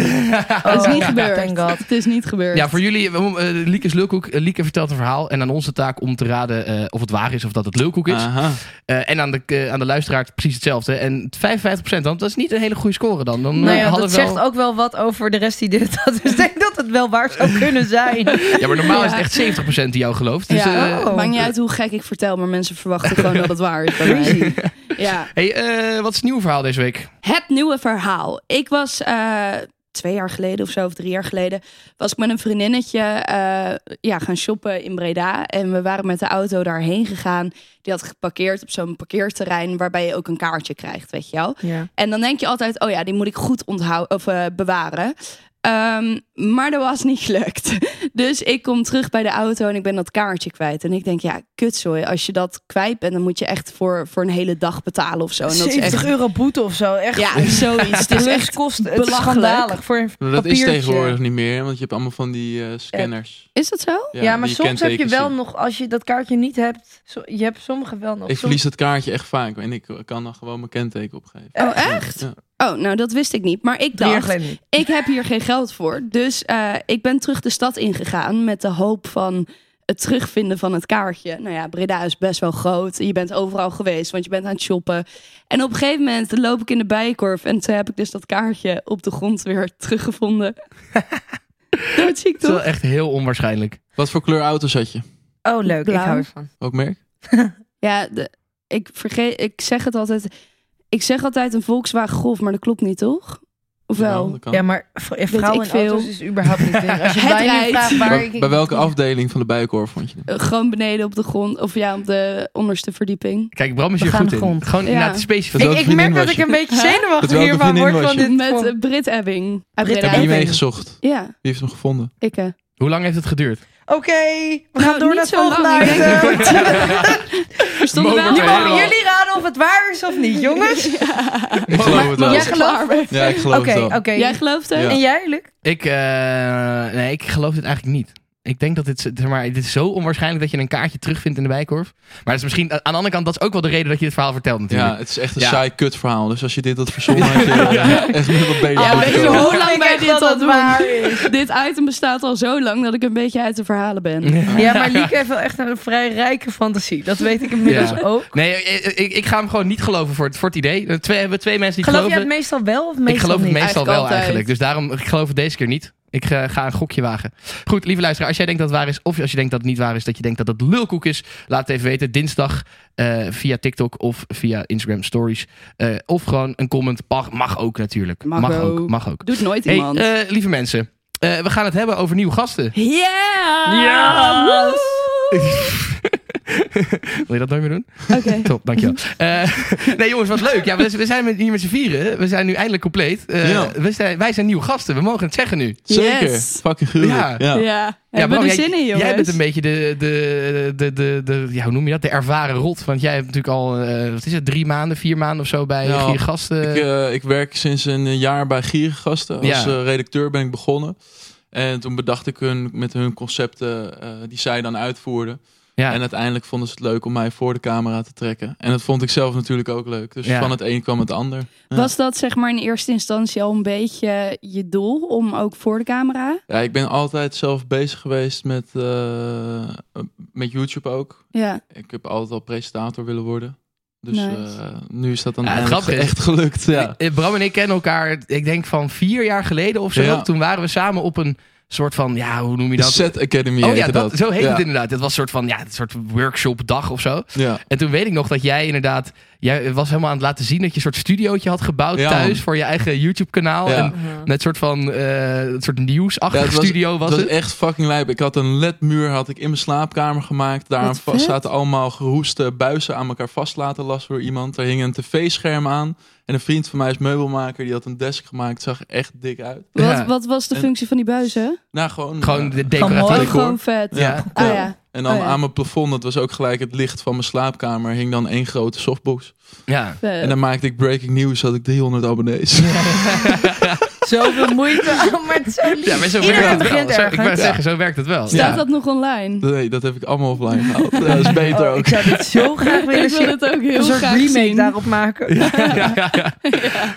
[SPEAKER 6] dat is niet gebeurd.
[SPEAKER 7] thank God.
[SPEAKER 6] Het is niet gebeurd.
[SPEAKER 5] Ja, voor jullie, eh, eh, Liek is Lulkoek. Eh, Lieke vertelt een verhaal en aan onze taak om te raden eh, of het waar is of dat het Lulkoek is.
[SPEAKER 8] Aha. Nou,
[SPEAKER 5] Eh, en aan de, eh, aan de luisteraar precies hetzelfde. En 55%, dan, dat is niet een hele goede score dan. dan eh,
[SPEAKER 7] Nou ja,
[SPEAKER 5] hadden
[SPEAKER 7] dat
[SPEAKER 5] we wel-
[SPEAKER 7] zegt ook wel wat over de rest die dit had. Dus ik denk dat het wel waar zou kunnen zijn.
[SPEAKER 5] Ja, maar normaal is het echt 70% die jou gelooft. Dus,
[SPEAKER 6] Ja,
[SPEAKER 5] eh,
[SPEAKER 7] oh.
[SPEAKER 6] Maakt niet uit hoe gek ik vertel, maar mensen verwachten gewoon dat het waar is. Bij mij. Ja.
[SPEAKER 5] hey, eh, wat is het nieuwe verhaal deze week?
[SPEAKER 6] Het nieuwe verhaal. Ik was eh, twee jaar geleden of zo, of drie jaar geleden, was ik met een vriendinnetje eh, ja, gaan shoppen in Breda. En we waren met de auto daarheen gegaan. Die had geparkeerd op zo'n parkeerterrein waarbij je ook een kaartje krijgt, weet je wel.
[SPEAKER 7] Ja.
[SPEAKER 6] En dan denk je altijd, oh ja, die moet ik goed onthouden of eh, bewaren. Ehm, maar dat was niet gelukt. Dus ik kom terug bij de auto en ik ben dat kaartje kwijt. En ik denk, ja, kutzooi. Als je dat kwijt bent, dan moet je echt voor, voor een hele dag betalen of zo. En dat is
[SPEAKER 7] 70
[SPEAKER 6] echt,
[SPEAKER 7] euro boete of zo. Echt
[SPEAKER 6] Ja, zoiets. Het
[SPEAKER 7] de
[SPEAKER 6] is
[SPEAKER 7] lucht
[SPEAKER 6] echt
[SPEAKER 7] kost het is
[SPEAKER 6] belachelijk.
[SPEAKER 7] schandalig voor een
[SPEAKER 8] Nou, dat is
[SPEAKER 7] papiertje.
[SPEAKER 8] tegenwoordig niet meer, want je hebt allemaal van die eh, scanners.
[SPEAKER 6] Is dat zo?
[SPEAKER 7] Ja, maar
[SPEAKER 8] die
[SPEAKER 7] soms heb je
[SPEAKER 8] kentekens
[SPEAKER 7] wel
[SPEAKER 8] in.
[SPEAKER 7] nog, als je dat kaartje niet hebt, zo- je hebt sommige wel nog.
[SPEAKER 8] Ik
[SPEAKER 7] Soms-
[SPEAKER 8] verlies dat kaartje echt vaak en ik kan dan gewoon mijn kenteken opgeven.
[SPEAKER 6] Oh, echt?
[SPEAKER 8] Ja.
[SPEAKER 6] Oh, nou, dat wist ik niet. Maar ik
[SPEAKER 7] drie jaar
[SPEAKER 6] dacht,
[SPEAKER 7] geleden Nou, niet.
[SPEAKER 6] ik heb hier geen geld voor. Dus eh, ik ben terug de stad ingegaan met de hoop van het terugvinden van het kaartje. Nou ja, Breda is best wel groot. Je bent overal geweest, want je bent aan het shoppen. En op een gegeven moment loop ik in de bijenkorf... en toen heb ik dus dat kaartje op de grond weer teruggevonden. Doodziek
[SPEAKER 5] Het is wel
[SPEAKER 6] toch?
[SPEAKER 5] echt heel onwaarschijnlijk.
[SPEAKER 8] Wat voor kleur auto's had je?
[SPEAKER 7] Oh, leuk.
[SPEAKER 6] Blauw.
[SPEAKER 7] Ik hou ervan.
[SPEAKER 8] Ook merk?
[SPEAKER 6] Ja, de- ik vergeet... Ik zeg het altijd... Ik zeg altijd een Volkswagen Golf, maar dat klopt niet, toch? Of wel?
[SPEAKER 8] Ja, dat kan.
[SPEAKER 7] Ja, maar v- vrouwen
[SPEAKER 6] ik
[SPEAKER 7] in
[SPEAKER 6] veel.
[SPEAKER 7] auto's is überhaupt niet ding. Als je
[SPEAKER 6] Het
[SPEAKER 7] bij
[SPEAKER 6] rijdt.
[SPEAKER 7] vraagt waar
[SPEAKER 8] Bij,
[SPEAKER 7] ik...
[SPEAKER 8] bij welke afdeling van de bijenkorf vond je? het?
[SPEAKER 6] Eh, gewoon beneden op de grond. Of ja, op de onderste verdieping.
[SPEAKER 5] Kijk, Bram is
[SPEAKER 7] We
[SPEAKER 5] hier
[SPEAKER 7] gaan
[SPEAKER 5] goed
[SPEAKER 7] de
[SPEAKER 5] in.
[SPEAKER 7] grond.
[SPEAKER 5] Gewoon
[SPEAKER 6] Ja.
[SPEAKER 5] inderdaad specifiek.
[SPEAKER 8] welke
[SPEAKER 7] Ik, ik
[SPEAKER 8] vriendin
[SPEAKER 7] merk dat
[SPEAKER 8] was
[SPEAKER 7] ik
[SPEAKER 8] je?
[SPEAKER 7] een beetje
[SPEAKER 8] Met
[SPEAKER 7] zenuwachtig
[SPEAKER 8] welke
[SPEAKER 7] hiervan
[SPEAKER 8] vriendin
[SPEAKER 7] word
[SPEAKER 8] was
[SPEAKER 7] van
[SPEAKER 8] je?
[SPEAKER 7] dit.
[SPEAKER 6] Met
[SPEAKER 7] voor-
[SPEAKER 6] eh, Brit Ebbing. uit
[SPEAKER 7] Brit
[SPEAKER 6] Breda.
[SPEAKER 8] Heb je
[SPEAKER 7] Ebbing.
[SPEAKER 8] mee gezocht?
[SPEAKER 6] Ja,
[SPEAKER 8] Wie heeft hem gevonden?
[SPEAKER 6] ik. eh.
[SPEAKER 5] Hoe lang heeft het geduurd?
[SPEAKER 7] Oké, we gaan
[SPEAKER 6] Nou,
[SPEAKER 7] door
[SPEAKER 6] niet
[SPEAKER 7] naar het
[SPEAKER 6] zo lang,
[SPEAKER 7] volgende
[SPEAKER 6] ik denk
[SPEAKER 7] item.
[SPEAKER 6] Er stonden
[SPEAKER 5] Moment
[SPEAKER 6] wel...
[SPEAKER 7] Nu
[SPEAKER 5] waar
[SPEAKER 7] mogen
[SPEAKER 5] helemaal-
[SPEAKER 7] jullie raden of het waar is of niet, jongens.
[SPEAKER 8] Ik geloof het wel.
[SPEAKER 7] Jij
[SPEAKER 6] was ik klaar
[SPEAKER 7] gelooft?
[SPEAKER 6] mee.
[SPEAKER 8] Ja, ik geloof
[SPEAKER 7] Oké,
[SPEAKER 8] het wel.
[SPEAKER 7] oké.
[SPEAKER 6] Jij gelooft het?
[SPEAKER 8] Ja.
[SPEAKER 7] En jij, Luc?
[SPEAKER 5] Ik, eh, nee, ik geloof dit eigenlijk niet. Ik denk dat dit, zeg maar, dit is zo onwaarschijnlijk dat je een kaartje terugvindt in de bijkorf. Maar dat is misschien, aan de andere kant, dat is ook wel de reden dat je dit verhaal vertelt natuurlijk.
[SPEAKER 8] Ja, het is echt een
[SPEAKER 5] Ja.
[SPEAKER 8] saai kut verhaal. Dus als je dit had verzonnen, had je echt nog wat beter
[SPEAKER 7] Oh,
[SPEAKER 6] Ja,
[SPEAKER 8] moeten
[SPEAKER 6] weet je
[SPEAKER 8] komen.
[SPEAKER 6] hoe
[SPEAKER 7] Ik
[SPEAKER 6] lang
[SPEAKER 7] denk
[SPEAKER 6] wij
[SPEAKER 7] echt
[SPEAKER 6] dit
[SPEAKER 7] dat
[SPEAKER 6] al
[SPEAKER 7] het
[SPEAKER 6] doen?
[SPEAKER 7] waar is.
[SPEAKER 6] Dit item bestaat al zo lang dat ik een beetje uit de verhalen
[SPEAKER 5] Mm-hmm.
[SPEAKER 6] ben.
[SPEAKER 7] Ja, maar Lieke heeft wel echt een vrij rijke fantasie. Dat weet ik inmiddels
[SPEAKER 5] Ja.
[SPEAKER 7] ook.
[SPEAKER 5] Nee, eh, ik, ik, ik ga hem gewoon niet geloven voor het, voor het idee. Er twee, hebben twee mensen die
[SPEAKER 7] Geloof je
[SPEAKER 5] geloven.
[SPEAKER 7] het meestal wel of meestal
[SPEAKER 5] ik geloof
[SPEAKER 7] niet?
[SPEAKER 5] het meestal
[SPEAKER 6] Eigenlijk
[SPEAKER 5] wel
[SPEAKER 6] altijd.
[SPEAKER 5] eigenlijk. Dus daarom, ik geloof het deze keer niet. Ik Ik eh, ga een gokje wagen. Goed, lieve luisteraar, als jij denkt dat het waar is, of als je denkt dat het niet waar is, dat je denkt dat het lulkoek is, laat het even weten. Dinsdag eh, via TikTok of via Instagram Stories. Eh, of gewoon een comment. Mag, mag ook natuurlijk.
[SPEAKER 6] Mag
[SPEAKER 5] ook.
[SPEAKER 6] ook.
[SPEAKER 5] Mag ook.
[SPEAKER 6] Doet nooit
[SPEAKER 5] Hey,
[SPEAKER 6] iemand.
[SPEAKER 5] eh, lieve mensen, eh, we gaan het hebben over nieuwe gasten.
[SPEAKER 6] Yeah!
[SPEAKER 5] Ja!
[SPEAKER 6] Ah, Woe!
[SPEAKER 5] Wil je dat nooit meer doen?
[SPEAKER 6] Oké.
[SPEAKER 5] Top, dankjewel. Eh nee jongens, wat leuk. Ja, we, we zijn met, hier met z'n vieren. We zijn nu eindelijk compleet. Eh,
[SPEAKER 8] Ja.
[SPEAKER 5] we zijn, wij zijn nieuwe gasten. We mogen het zeggen nu.
[SPEAKER 8] Zeker.
[SPEAKER 6] Yes.
[SPEAKER 8] Fucking gruwelijk.
[SPEAKER 5] Ja.
[SPEAKER 8] Ja.
[SPEAKER 6] Ja, we hebben
[SPEAKER 5] Bram,
[SPEAKER 6] er
[SPEAKER 5] jij-
[SPEAKER 6] zin in, jongens.
[SPEAKER 5] Jij bent een beetje de, de, de, de, de, ja, hoe noem je dat? De ervaren rot. Want jij hebt natuurlijk al, eh, wat is het, drie maanden, vier maanden of zo bij
[SPEAKER 8] Ja,
[SPEAKER 5] vier gasten.
[SPEAKER 8] Nou, Ik, eh, ik werk sinds een jaar bij Gierengasten. Als
[SPEAKER 5] Ja.
[SPEAKER 8] eh, redacteur ben ik begonnen. En toen bedacht ik hun, met hun concepten eh, die zij dan uitvoerden.
[SPEAKER 5] ja.
[SPEAKER 8] En uiteindelijk vonden ze het leuk om mij voor de camera te trekken. En dat vond ik zelf natuurlijk ook leuk. Dus
[SPEAKER 5] Ja.
[SPEAKER 8] van het een kwam het ander. Ja.
[SPEAKER 6] Was dat zeg maar in eerste instantie al een beetje je doel om ook voor de camera?
[SPEAKER 8] Ja, ik ben altijd zelf bezig geweest met, eh, met YouTube ook.
[SPEAKER 6] Ja.
[SPEAKER 8] Ik heb altijd al presentator willen worden. Dus
[SPEAKER 6] Nice.
[SPEAKER 8] eh, nu is dat dan
[SPEAKER 5] Ja, het
[SPEAKER 8] eindelijk
[SPEAKER 5] grappige is-
[SPEAKER 8] echt gelukt. Ja.
[SPEAKER 5] Eh, Bram en ik kennen elkaar, ik denk van vier jaar geleden of zo.
[SPEAKER 8] Ja.
[SPEAKER 5] Toen waren we samen op een soort van, ja, hoe noem je
[SPEAKER 8] De
[SPEAKER 5] dat?
[SPEAKER 8] Set Academy
[SPEAKER 5] Oh ja,
[SPEAKER 8] heette
[SPEAKER 5] dat, zo heet
[SPEAKER 8] ja.
[SPEAKER 5] het inderdaad. Het was een soort van ja, een soort workshopdag of zo.
[SPEAKER 8] Ja.
[SPEAKER 5] En toen weet ik nog dat jij inderdaad... Jij was helemaal aan het laten zien dat je een soort studiootje had gebouwd
[SPEAKER 8] Ja,
[SPEAKER 5] thuis...
[SPEAKER 8] man.
[SPEAKER 5] voor je eigen YouTube-kanaal.
[SPEAKER 8] Ja. Mhm.
[SPEAKER 5] En met een soort van eh, een soort nieuwsachtig
[SPEAKER 8] Ja, het was-
[SPEAKER 5] studio was
[SPEAKER 8] dat
[SPEAKER 5] het.
[SPEAKER 8] is echt fucking lijp. Ik had een ledmuur had ik in mijn slaapkamer gemaakt. Daar
[SPEAKER 6] Wat vet.
[SPEAKER 8] zaten allemaal geroeste buizen aan elkaar vast laten lassen door iemand. Er hing een tv-scherm aan. En een vriend van mij is meubelmaker. Die had een desk gemaakt. Het zag er echt dik uit.
[SPEAKER 6] Wat,
[SPEAKER 5] Ja.
[SPEAKER 6] wat was de
[SPEAKER 8] En-
[SPEAKER 6] functie van die buizen?
[SPEAKER 8] Nou, gewoon...
[SPEAKER 5] Gewoon
[SPEAKER 8] eh,
[SPEAKER 5] de
[SPEAKER 7] Oh,
[SPEAKER 6] Oh,
[SPEAKER 5] decoratief.
[SPEAKER 7] decor.
[SPEAKER 6] gewoon vet.
[SPEAKER 8] Ja.
[SPEAKER 5] Ja.
[SPEAKER 6] Ah, ja.
[SPEAKER 8] En dan
[SPEAKER 6] Oh, ja.
[SPEAKER 8] aan mijn plafond, dat was ook gelijk het licht van mijn slaapkamer, hing dan één grote softbox.
[SPEAKER 5] Ja.
[SPEAKER 6] Vet.
[SPEAKER 8] En dan maakte ik breaking news, had ik 300 abonnees.
[SPEAKER 7] Zoveel moeite. Oh, maar het is zo lief.
[SPEAKER 5] ja, maar zo
[SPEAKER 7] Iedereen
[SPEAKER 5] werkt het wel.
[SPEAKER 7] begint
[SPEAKER 5] Zo, ik
[SPEAKER 7] ergens.
[SPEAKER 5] wou zeggen, zo werkt het wel.
[SPEAKER 8] Ja.
[SPEAKER 6] Staat dat nog online?
[SPEAKER 8] nee, dat heb ik allemaal offline gehaald. Ja, Dat is beter
[SPEAKER 7] Oh,
[SPEAKER 8] ook.
[SPEAKER 7] ik zou dit zo graag willen
[SPEAKER 6] Ik wil
[SPEAKER 7] zien.
[SPEAKER 6] het ook heel
[SPEAKER 7] Een soort
[SPEAKER 6] graag
[SPEAKER 7] remake
[SPEAKER 6] zien.
[SPEAKER 7] daarop maken.
[SPEAKER 5] ja, ja, ja.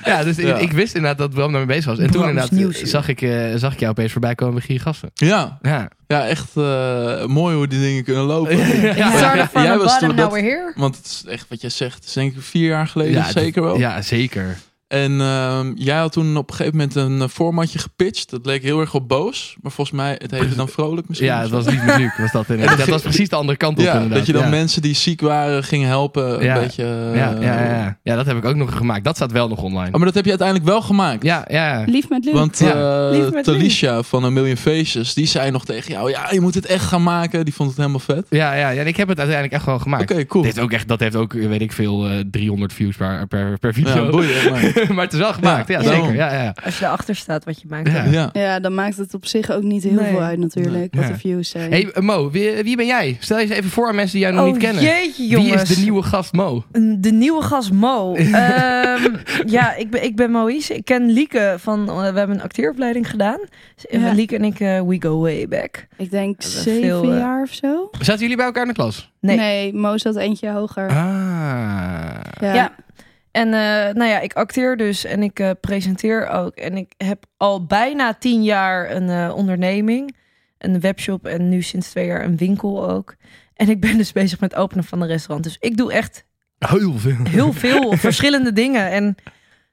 [SPEAKER 5] Ja, dus ik-
[SPEAKER 8] Ja.
[SPEAKER 5] Ik, wist inderdaad dat Bram daarmee bezig was. En toen
[SPEAKER 7] Brams
[SPEAKER 5] inderdaad
[SPEAKER 7] nieuwsuur.
[SPEAKER 5] zag ik, eh, zag ik jou opeens voorbij komen bij Gier Gasten.
[SPEAKER 8] Ja,
[SPEAKER 5] Ja.
[SPEAKER 8] ja echt eh, mooi hoe die dingen kunnen lopen.
[SPEAKER 7] It started from
[SPEAKER 8] Jij
[SPEAKER 7] the
[SPEAKER 8] was
[SPEAKER 7] bottom, now
[SPEAKER 8] toen dat-
[SPEAKER 7] we're here.
[SPEAKER 8] Want het is echt wat jij zegt, het is denk ik vier jaar geleden,
[SPEAKER 5] dat-
[SPEAKER 8] zeker wel.
[SPEAKER 5] Ja, zeker.
[SPEAKER 8] En ehm, jij had toen op een gegeven moment een eh, formatje gepitcht. Dat leek heel erg op boos, maar volgens mij, het heette dan vrolijk misschien.
[SPEAKER 5] Ja,
[SPEAKER 8] of
[SPEAKER 5] het
[SPEAKER 8] zo.
[SPEAKER 5] was niet met Luc, was dat inderdaad. Dat was precies de andere kant op
[SPEAKER 8] ja
[SPEAKER 5] inderdaad.
[SPEAKER 8] dat je dan
[SPEAKER 5] ja.
[SPEAKER 8] mensen die ziek waren ging helpen. Een
[SPEAKER 5] Ja.
[SPEAKER 8] beetje, eh,
[SPEAKER 5] Ja, ja, ja, ja. ja, dat heb ik ook nog gemaakt. Dat staat wel nog online.
[SPEAKER 8] Oh, maar dat heb je uiteindelijk wel gemaakt.
[SPEAKER 5] Ja, ja.
[SPEAKER 6] Lief met Luc.
[SPEAKER 8] Want
[SPEAKER 5] Ja.
[SPEAKER 8] eh
[SPEAKER 7] Lief met
[SPEAKER 8] Talisha van een Million Faces, die zei nog tegen jou: Ja, je moet het echt gaan maken. Die vond het helemaal vet.
[SPEAKER 5] Ja, ja, ja, en ik heb het uiteindelijk echt wel gemaakt.
[SPEAKER 8] Oké, cool.
[SPEAKER 5] Dit heeft ook echt, dat heeft ook, weet ik veel, eh, 300 views per, per, per video.
[SPEAKER 8] Ja, boeien. Maar,
[SPEAKER 5] maar het is wel gemaakt, ja,
[SPEAKER 8] Ja,
[SPEAKER 5] zeker.
[SPEAKER 8] daarom.
[SPEAKER 5] Ja, ja.
[SPEAKER 7] Als je erachter staat wat je maakt.
[SPEAKER 5] Ja.
[SPEAKER 7] dan-
[SPEAKER 8] ja.
[SPEAKER 6] Ja, dan maakt het op zich ook niet heel
[SPEAKER 7] Nee.
[SPEAKER 6] veel uit natuurlijk,
[SPEAKER 5] Nee.
[SPEAKER 6] wat
[SPEAKER 5] Ja.
[SPEAKER 6] de views zijn.
[SPEAKER 5] hey, eh, Mo, wie, wie ben jij? Stel je eens even voor aan mensen die jij nog
[SPEAKER 7] Oh,
[SPEAKER 5] niet kennen.
[SPEAKER 7] jeetje
[SPEAKER 5] wie
[SPEAKER 7] jongens.
[SPEAKER 5] is de nieuwe gast Mo?
[SPEAKER 7] Een- De nieuwe gast Mo. Ehm, ja, ik ben, ik ben Moïse. Ik ken Lieke van... eh, We hebben een acteeropleiding gedaan. Dus, eh,
[SPEAKER 6] Ja.
[SPEAKER 7] Lieke en ik, eh, we go way back.
[SPEAKER 6] Ik denk
[SPEAKER 7] hebben
[SPEAKER 6] zeven
[SPEAKER 7] veel, eh,
[SPEAKER 6] jaar of zo.
[SPEAKER 5] Zaten jullie bij elkaar in de klas?
[SPEAKER 7] Nee.
[SPEAKER 6] Nee, Mo zat eentje hoger.
[SPEAKER 5] Ah.
[SPEAKER 6] Ja.
[SPEAKER 7] Ja. En eh, nou ja, ik acteer dus en ik eh, presenteer ook. En ik heb al bijna tien jaar een eh, onderneming. Een webshop en nu sinds twee jaar een winkel ook. En ik ben dus bezig met het openen van een restaurant. Dus ik doe echt
[SPEAKER 5] Heel veel.
[SPEAKER 7] heel veel verschillende dingen. En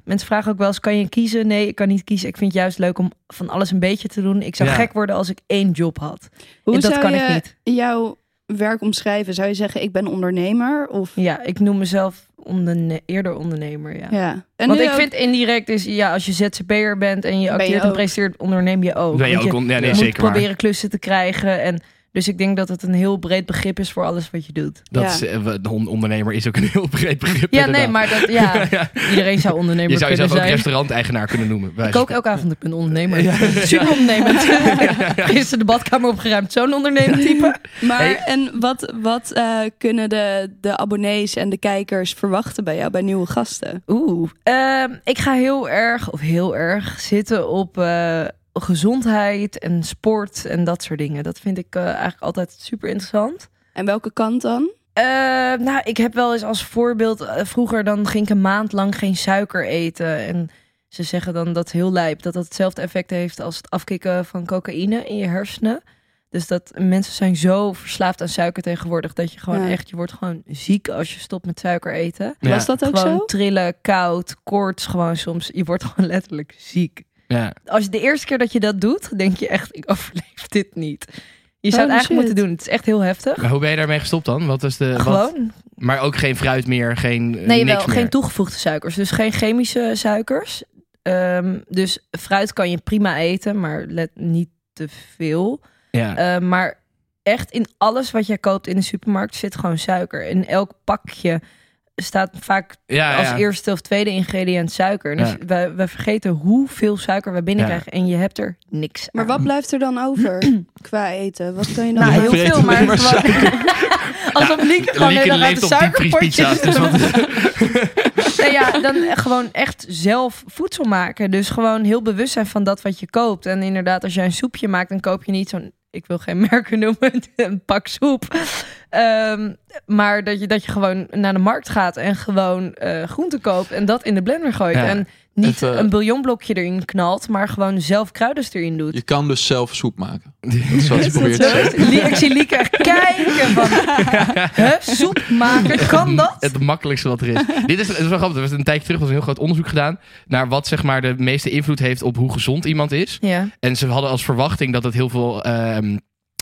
[SPEAKER 7] mensen vragen ook wel eens, kan je kiezen? Nee, ik kan niet kiezen. Ik vind het juist leuk om van alles een beetje te doen. Ik zou
[SPEAKER 5] Ja.
[SPEAKER 7] gek worden als ik één job had.
[SPEAKER 6] Hoe
[SPEAKER 7] En dat
[SPEAKER 6] zou
[SPEAKER 7] kan
[SPEAKER 6] je
[SPEAKER 7] ik niet.
[SPEAKER 6] jouw werk omschrijven? Zou je zeggen, ik ben ondernemer? Of,
[SPEAKER 7] Ja, ik noem mezelf onderne- eerder ondernemer, ja.
[SPEAKER 6] ja. En
[SPEAKER 7] Want
[SPEAKER 6] nu
[SPEAKER 7] ik
[SPEAKER 6] ook-
[SPEAKER 7] vind indirect is, ja, als je ZZP'er bent en je
[SPEAKER 6] je
[SPEAKER 7] acteert en
[SPEAKER 6] ook.
[SPEAKER 7] presenteert, onderneem je ook.
[SPEAKER 5] Ben je
[SPEAKER 7] Want
[SPEAKER 5] ook on- ja, nee,
[SPEAKER 7] moet
[SPEAKER 5] zeker waar.
[SPEAKER 7] proberen klussen te krijgen. En, dus ik denk dat het een heel breed begrip is voor alles wat je doet.
[SPEAKER 5] Dat
[SPEAKER 6] Ja.
[SPEAKER 5] is, eh, we- de on- ondernemer is ook een heel breed begrip.
[SPEAKER 7] Ja,
[SPEAKER 5] inderdaad.
[SPEAKER 7] nee, maar dat, ja, iedereen zou ondernemer
[SPEAKER 5] Je zou
[SPEAKER 7] kunnen
[SPEAKER 5] jezelf ook
[SPEAKER 7] zijn.
[SPEAKER 5] restaurant-eigenaar kunnen noemen. bij
[SPEAKER 7] Ik
[SPEAKER 5] wijze
[SPEAKER 7] ook
[SPEAKER 5] van-
[SPEAKER 7] elke avond, ik ben ondernemer. Super ondernemend. Gisteren de badkamer opgeruimd, zo'n ondernemer type.
[SPEAKER 6] Maar
[SPEAKER 5] Hey.
[SPEAKER 6] en wat, wat eh, kunnen de, de abonnees en de kijkers verwachten bij jou, bij nieuwe gasten?
[SPEAKER 7] Oeh. Ehm, ik ga heel erg, of heel erg, zitten op eh, gezondheid en sport en dat soort dingen. Dat vind ik eh, eigenlijk altijd super interessant.
[SPEAKER 6] En welke kant dan?
[SPEAKER 7] Eh, nou, ik heb wel eens als voorbeeld... eh, vroeger dan ging ik een maand lang geen suiker eten. En ze zeggen dan dat heel lijp. Dat dat hetzelfde effect heeft als het afkicken van cocaïne in je hersenen. Dus dat mensen zijn zo verslaafd aan suiker tegenwoordig... dat je gewoon
[SPEAKER 6] Ja.
[SPEAKER 7] echt... je wordt gewoon ziek als je stopt met suiker eten.
[SPEAKER 5] Ja.
[SPEAKER 6] Was dat ook
[SPEAKER 7] gewoon
[SPEAKER 6] zo?
[SPEAKER 7] trillen, koud, koorts gewoon soms. Je wordt gewoon letterlijk ziek.
[SPEAKER 5] Ja.
[SPEAKER 7] Als je de eerste keer dat je dat doet, denk je echt, ik overleef dit niet. Je zou
[SPEAKER 6] Oh,
[SPEAKER 7] het eigenlijk
[SPEAKER 6] shit.
[SPEAKER 7] moeten doen. Het is echt heel heftig.
[SPEAKER 5] Maar hoe ben je daarmee gestopt dan? Wat is de, Eh, wat-
[SPEAKER 7] Gewoon.
[SPEAKER 5] maar ook geen fruit meer, geen eh,
[SPEAKER 7] Nee,
[SPEAKER 5] niks
[SPEAKER 7] wel.
[SPEAKER 5] meer.
[SPEAKER 7] Geen toegevoegde suikers. Dus geen chemische suikers. Ehm, dus fruit kan je prima eten, maar let niet te veel.
[SPEAKER 5] ja.
[SPEAKER 7] Eh, maar echt in alles wat jij koopt in de supermarkt zit gewoon suiker. In elk pakje staat vaak
[SPEAKER 5] ja,
[SPEAKER 7] eh, als
[SPEAKER 5] Ah, ja.
[SPEAKER 7] eerste of tweede ingrediënt suiker. Dus
[SPEAKER 5] Ja.
[SPEAKER 7] wij, wij vergeten hoeveel suiker we binnenkrijgen en je hebt er niks
[SPEAKER 6] Maar
[SPEAKER 7] aan.
[SPEAKER 6] wat blijft er dan over qua eten? Wat kan je dan
[SPEAKER 7] Nou,
[SPEAKER 6] nou,
[SPEAKER 7] heel
[SPEAKER 8] vreet
[SPEAKER 7] veel,
[SPEAKER 8] alleen
[SPEAKER 7] maar,
[SPEAKER 8] maar
[SPEAKER 7] gewoon... Alsof Lieke gewoon
[SPEAKER 5] Lieke
[SPEAKER 7] helemaal uit
[SPEAKER 5] leeft
[SPEAKER 7] de
[SPEAKER 5] op diepvriespizza's.
[SPEAKER 7] suikerpotjes...
[SPEAKER 5] Dus wat,
[SPEAKER 7] Nee, ja, dan gewoon echt zelf voedsel maken. Dus gewoon heel bewust zijn van dat wat je koopt. En inderdaad, als jij een soepje maakt, dan koop je niet zo'n... Ik wil geen merken noemen, een pak soep. Ehm, maar dat je, dat je gewoon naar de markt gaat en gewoon eh groenten koopt. En dat in de blender gooit.
[SPEAKER 5] Ja.
[SPEAKER 7] En niet
[SPEAKER 8] Het, eh,
[SPEAKER 7] een bouillonblokje erin knalt, maar gewoon zelf kruiders erin doet.
[SPEAKER 8] Je kan dus zelf soep maken. Dat is wat je probeert te
[SPEAKER 6] zo?
[SPEAKER 8] zeggen.
[SPEAKER 7] Lie- Ik zie Lieke echt kijken van... Huh, soep maken, kan dat?
[SPEAKER 5] Het makkelijkste wat er is. Dit is, het is wel grappig. Er was een tijdje terug was een heel groot onderzoek gedaan naar wat zeg maar, de meeste invloed heeft op hoe gezond iemand is.
[SPEAKER 7] Ja.
[SPEAKER 5] En ze hadden als verwachting dat het heel veel ehm,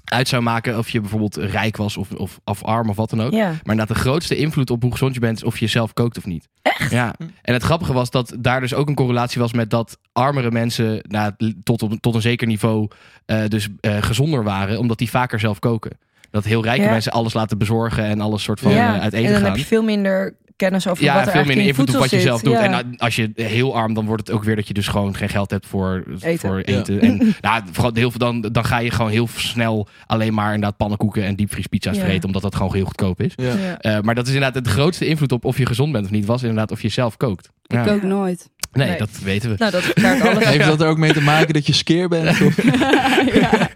[SPEAKER 5] uit zou maken of je bijvoorbeeld rijk was of, of, of arm of wat dan ook.
[SPEAKER 7] ja.
[SPEAKER 5] Maar dat de grootste invloed op hoe gezond je bent is of je zelf kookt of niet. Echt? Ja.
[SPEAKER 7] Hm.
[SPEAKER 5] En het grappige was dat daar dus ook een correlatie was met dat armere mensen nou, tot, op, tot een zeker niveau eh, dus eh, gezonder waren, omdat die vaker zelf koken. Dat heel rijke
[SPEAKER 7] Ja.
[SPEAKER 5] mensen alles laten bezorgen en alles soort van eh, uit eten
[SPEAKER 7] en dan
[SPEAKER 5] gaan.
[SPEAKER 7] heb je veel minder kennis over
[SPEAKER 5] ja,
[SPEAKER 7] wat er
[SPEAKER 5] veel
[SPEAKER 7] eigenlijk
[SPEAKER 5] minder
[SPEAKER 7] in je
[SPEAKER 5] invloed op
[SPEAKER 7] voedsel
[SPEAKER 5] wat je
[SPEAKER 7] zit.
[SPEAKER 5] zelf doet.
[SPEAKER 7] Ja.
[SPEAKER 5] En nou, als je heel arm, dan wordt het ook weer dat je dus gewoon geen geld hebt voor
[SPEAKER 7] Eten.
[SPEAKER 5] eten. Voor eten. En nou, vooral heel veel dan, dan ga je gewoon heel snel alleen maar inderdaad pannenkoeken en diepvriespizza's
[SPEAKER 7] Ja.
[SPEAKER 5] vreten, omdat dat gewoon heel goedkoop is.
[SPEAKER 8] Ja.
[SPEAKER 7] Ja.
[SPEAKER 5] Eh, maar dat is inderdaad de grootste invloed op of je gezond bent of niet, was inderdaad of je zelf kookt. Ja.
[SPEAKER 6] Ik ook nooit.
[SPEAKER 5] Nee,
[SPEAKER 7] Nee.
[SPEAKER 5] dat weten we.
[SPEAKER 7] Nou, dat verklaart alles.
[SPEAKER 8] Heeft dat er ook mee te maken dat je skeer bent? Of?
[SPEAKER 6] ja.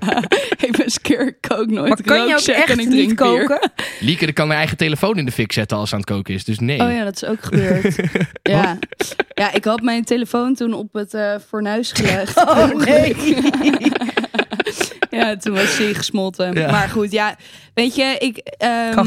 [SPEAKER 6] ik ben skeer, ik kook nooit.
[SPEAKER 7] Maar
[SPEAKER 6] Ik
[SPEAKER 7] kan
[SPEAKER 6] rook
[SPEAKER 7] je ook
[SPEAKER 6] sec
[SPEAKER 7] echt
[SPEAKER 6] en ik
[SPEAKER 7] niet
[SPEAKER 6] drink bier.
[SPEAKER 7] koken?
[SPEAKER 5] Lieke die kan haar eigen telefoon in de fik zetten als ze aan het koken is, dus nee.
[SPEAKER 6] Oh ja, dat is ook gebeurd. ja. ja, ik had mijn telefoon toen op het eh fornuis gelegd.
[SPEAKER 7] Oh nee.
[SPEAKER 6] ja, toen was hij gesmolten.
[SPEAKER 5] Ja.
[SPEAKER 6] Maar goed, ja. Weet je, ik... ehm,
[SPEAKER 7] Kan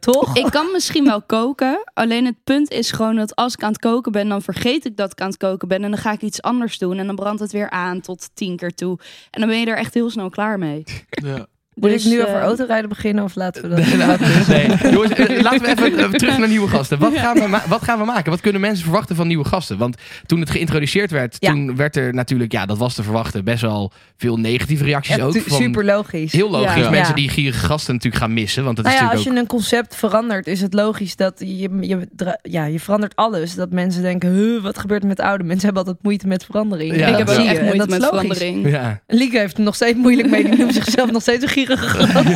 [SPEAKER 7] toch?
[SPEAKER 6] Ik kan misschien wel koken. Alleen het punt is gewoon dat als ik aan het koken ben, dan vergeet ik dat ik aan het koken ben. En dan ga ik iets anders doen. En dan brandt het weer aan tot tien keer toe. En dan ben je er echt heel snel klaar mee.
[SPEAKER 8] Ja.
[SPEAKER 7] Moet
[SPEAKER 6] Dus,
[SPEAKER 7] ik nu
[SPEAKER 6] eh,
[SPEAKER 7] over autorijden beginnen of laten we dat?
[SPEAKER 5] Nee, nou, nee. Jongens, eh, laten we even eh, terug naar nieuwe gasten. Wat gaan, we ma- wat gaan we maken? Wat kunnen mensen verwachten van nieuwe gasten? Want toen het geïntroduceerd werd,
[SPEAKER 7] Ja.
[SPEAKER 5] toen werd er natuurlijk, ja, dat was te verwachten, best wel veel negatieve reacties
[SPEAKER 7] Ja,
[SPEAKER 5] ook.
[SPEAKER 7] tu-
[SPEAKER 5] Van,
[SPEAKER 7] super logisch.
[SPEAKER 5] Heel logisch,
[SPEAKER 8] Ja.
[SPEAKER 5] mensen
[SPEAKER 7] Ja.
[SPEAKER 5] die gierige gasten natuurlijk gaan missen. Want dat is
[SPEAKER 7] Nou ja, als
[SPEAKER 5] natuurlijk
[SPEAKER 7] je een concept verandert, is het logisch dat je, je, dra- ja, je verandert alles. Dat mensen denken, huh, wat gebeurt er met oude mensen? hebben altijd moeite met verandering.
[SPEAKER 5] Ja,
[SPEAKER 6] ik heb
[SPEAKER 7] dat
[SPEAKER 6] ook
[SPEAKER 7] zie je.
[SPEAKER 6] echt
[SPEAKER 7] En
[SPEAKER 6] moeite
[SPEAKER 7] dat is
[SPEAKER 6] met
[SPEAKER 7] logisch.
[SPEAKER 6] verandering.
[SPEAKER 5] ook. Ja.
[SPEAKER 7] Lieke heeft er nog steeds moeilijk mee. Die noemt zichzelf nog steeds een gierige gast.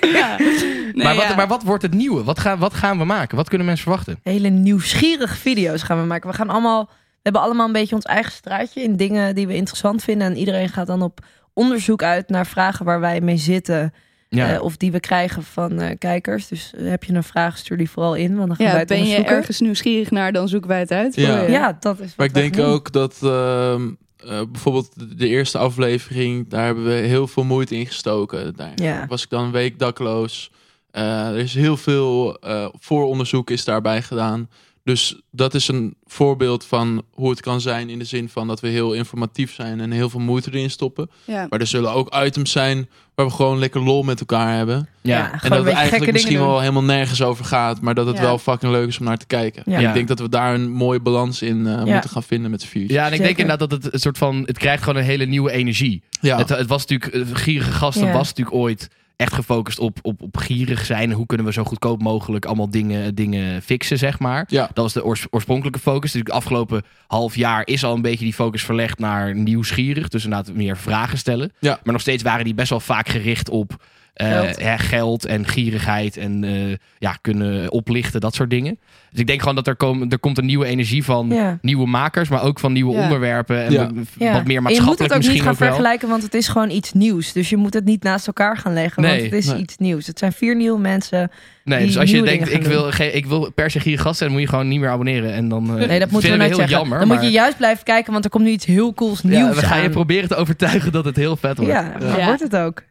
[SPEAKER 6] Ja. Nee,
[SPEAKER 5] maar, wat,
[SPEAKER 6] ja.
[SPEAKER 5] maar wat wordt het nieuwe? Wat, gaan wat gaan we maken? Wat kunnen mensen verwachten?
[SPEAKER 7] hele nieuwsgierige video's gaan we maken. We gaan allemaal, we hebben allemaal een beetje ons eigen straatje in dingen die we interessant vinden. En iedereen gaat dan op onderzoek uit naar vragen waar wij mee zitten.
[SPEAKER 5] Ja.
[SPEAKER 7] eh, of die we krijgen van eh, kijkers. Dus eh, heb je een vraag, stuur die vooral in. Want dan gaan wij
[SPEAKER 6] Ja,
[SPEAKER 7] het
[SPEAKER 6] ben je
[SPEAKER 7] onderzoeken.
[SPEAKER 6] ergens nieuwsgierig naar, dan zoeken wij het uit. voor
[SPEAKER 8] Ja.
[SPEAKER 6] je.
[SPEAKER 7] Ja, dat is wat
[SPEAKER 8] Maar ik
[SPEAKER 7] wij
[SPEAKER 8] denk
[SPEAKER 7] gaan doen.
[SPEAKER 8] ook dat ehm, eh, bijvoorbeeld de eerste aflevering, daar hebben we heel veel moeite in gestoken. Daar
[SPEAKER 7] Ja.
[SPEAKER 8] was ik dan een week dakloos. Eh, er is heel veel eh, vooronderzoek is daarbij gedaan. Dus dat is een voorbeeld van hoe het kan zijn in de zin van dat we heel informatief zijn en heel veel moeite erin stoppen.
[SPEAKER 6] Ja.
[SPEAKER 8] Maar er zullen ook items zijn waar we gewoon lekker lol met elkaar hebben.
[SPEAKER 7] Ja,
[SPEAKER 5] Ja.
[SPEAKER 7] gewoon
[SPEAKER 8] En dat
[SPEAKER 7] een beetje
[SPEAKER 8] het
[SPEAKER 7] gekke
[SPEAKER 8] eigenlijk
[SPEAKER 7] dingen
[SPEAKER 8] misschien
[SPEAKER 7] doen.
[SPEAKER 8] wel helemaal nergens over gaat, maar dat het
[SPEAKER 6] Ja.
[SPEAKER 8] wel fucking leuk is om naar te kijken.
[SPEAKER 7] Ja.
[SPEAKER 8] En
[SPEAKER 5] Ja.
[SPEAKER 8] ik denk dat we daar een mooie balans in eh, moeten gaan vinden met z'n viertjes.
[SPEAKER 5] Ja, en ik denk
[SPEAKER 7] Zeker.
[SPEAKER 5] inderdaad dat het een soort van. Het krijgt gewoon een hele nieuwe energie.
[SPEAKER 8] Ja.
[SPEAKER 5] Het, het was natuurlijk. eh, Gierige gasten
[SPEAKER 7] Ja.
[SPEAKER 5] was natuurlijk ooit echt gefocust op, op, op gierig zijn. Hoe kunnen we zo goedkoop mogelijk allemaal dingen, dingen fixen, zeg maar.
[SPEAKER 8] Ja.
[SPEAKER 5] Dat was de oors- oorspronkelijke focus. Dus het afgelopen half jaar is al een beetje die focus verlegd naar nieuwsgierig. Dus inderdaad meer vragen stellen.
[SPEAKER 8] Ja.
[SPEAKER 5] Maar nog steeds waren die best wel vaak gericht op eh, hè,
[SPEAKER 7] Geld.
[SPEAKER 5] geld. en gierigheid en eh, ja, kunnen oplichten, dat soort dingen. Dus ik denk gewoon dat er, komen er komt een nieuwe energie van
[SPEAKER 7] Ja.
[SPEAKER 5] nieuwe makers, maar ook van nieuwe
[SPEAKER 6] Ja.
[SPEAKER 5] onderwerpen. En
[SPEAKER 8] Ja.
[SPEAKER 5] wat-
[SPEAKER 7] Ja.
[SPEAKER 5] wat meer
[SPEAKER 7] En je moet
[SPEAKER 5] maatschappelijk
[SPEAKER 7] het ook niet
[SPEAKER 5] misschien
[SPEAKER 7] gaan
[SPEAKER 5] ook wel.
[SPEAKER 7] vergelijken, want het is gewoon iets nieuws. Dus je moet het niet naast elkaar gaan leggen,
[SPEAKER 5] Nee,
[SPEAKER 7] want het is
[SPEAKER 8] nee.
[SPEAKER 7] iets nieuws. Het zijn vier nieuwe mensen
[SPEAKER 5] Nee,
[SPEAKER 7] die
[SPEAKER 5] dus als je
[SPEAKER 7] nieuwe
[SPEAKER 5] denkt,
[SPEAKER 7] dingen
[SPEAKER 5] ik
[SPEAKER 7] gaan
[SPEAKER 5] wil, ge- ik wil per se hier gast zijn, dan moet je gewoon niet meer abonneren. En dan eh,
[SPEAKER 7] Nee, dat moeten we
[SPEAKER 5] vinden
[SPEAKER 7] nooit
[SPEAKER 5] heel
[SPEAKER 7] zeggen.
[SPEAKER 5] jammer.
[SPEAKER 7] dan
[SPEAKER 5] maar,
[SPEAKER 7] moet je juist blijven kijken, want er komt nu iets heel cools
[SPEAKER 5] Ja,
[SPEAKER 7] nieuws
[SPEAKER 5] we gaan je
[SPEAKER 7] aan.
[SPEAKER 5] proberen te overtuigen dat het heel vet wordt.
[SPEAKER 7] Ja, maar
[SPEAKER 6] Ja.
[SPEAKER 7] wordt het ook.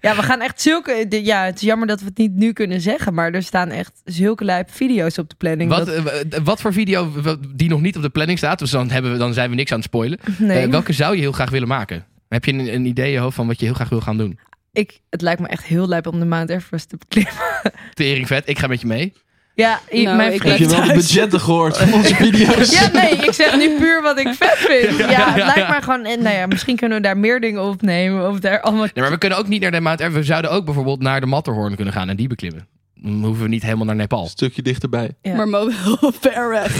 [SPEAKER 7] ja, we gaan echt zulke... de- Ja, het is jammer dat we het niet nu kunnen zeggen, maar er staan echt zulke lijp video's op de planning.
[SPEAKER 5] Wat,
[SPEAKER 7] dat-
[SPEAKER 5] eh, wat voor video w- die nog niet op de planning staat, dus dan, hebben we, dan zijn we niks aan het spoilen.
[SPEAKER 7] nee,
[SPEAKER 5] Eh, welke zou je heel graag willen maken? Heb je een, een idee in je hoofd van wat je heel graag wil gaan doen?
[SPEAKER 7] ik, het lijkt me echt heel lijp om de Mount Everest te beklimmen.
[SPEAKER 5] Tering vet, ik ga met je mee.
[SPEAKER 7] Ja, i-
[SPEAKER 6] Nou,
[SPEAKER 7] mijn
[SPEAKER 6] ik
[SPEAKER 7] vriend...
[SPEAKER 8] Heb je wel de budgetten gehoord van onze video's?
[SPEAKER 7] Ja, nee, ik zeg nu puur wat ik vet vind. Ja, het lijkt mij gewoon... eh, Nou ja, misschien kunnen we daar meer dingen opnemen of daar allemaal...
[SPEAKER 5] Nee, maar we kunnen ook niet naar de Mount Everest. We zouden ook bijvoorbeeld naar de Matterhorn kunnen gaan en die beklimmen. Dan hoeven we niet helemaal naar Nepal.
[SPEAKER 8] Een stukje dichterbij.
[SPEAKER 7] Ja.
[SPEAKER 6] Maar Mobile Fair Rap,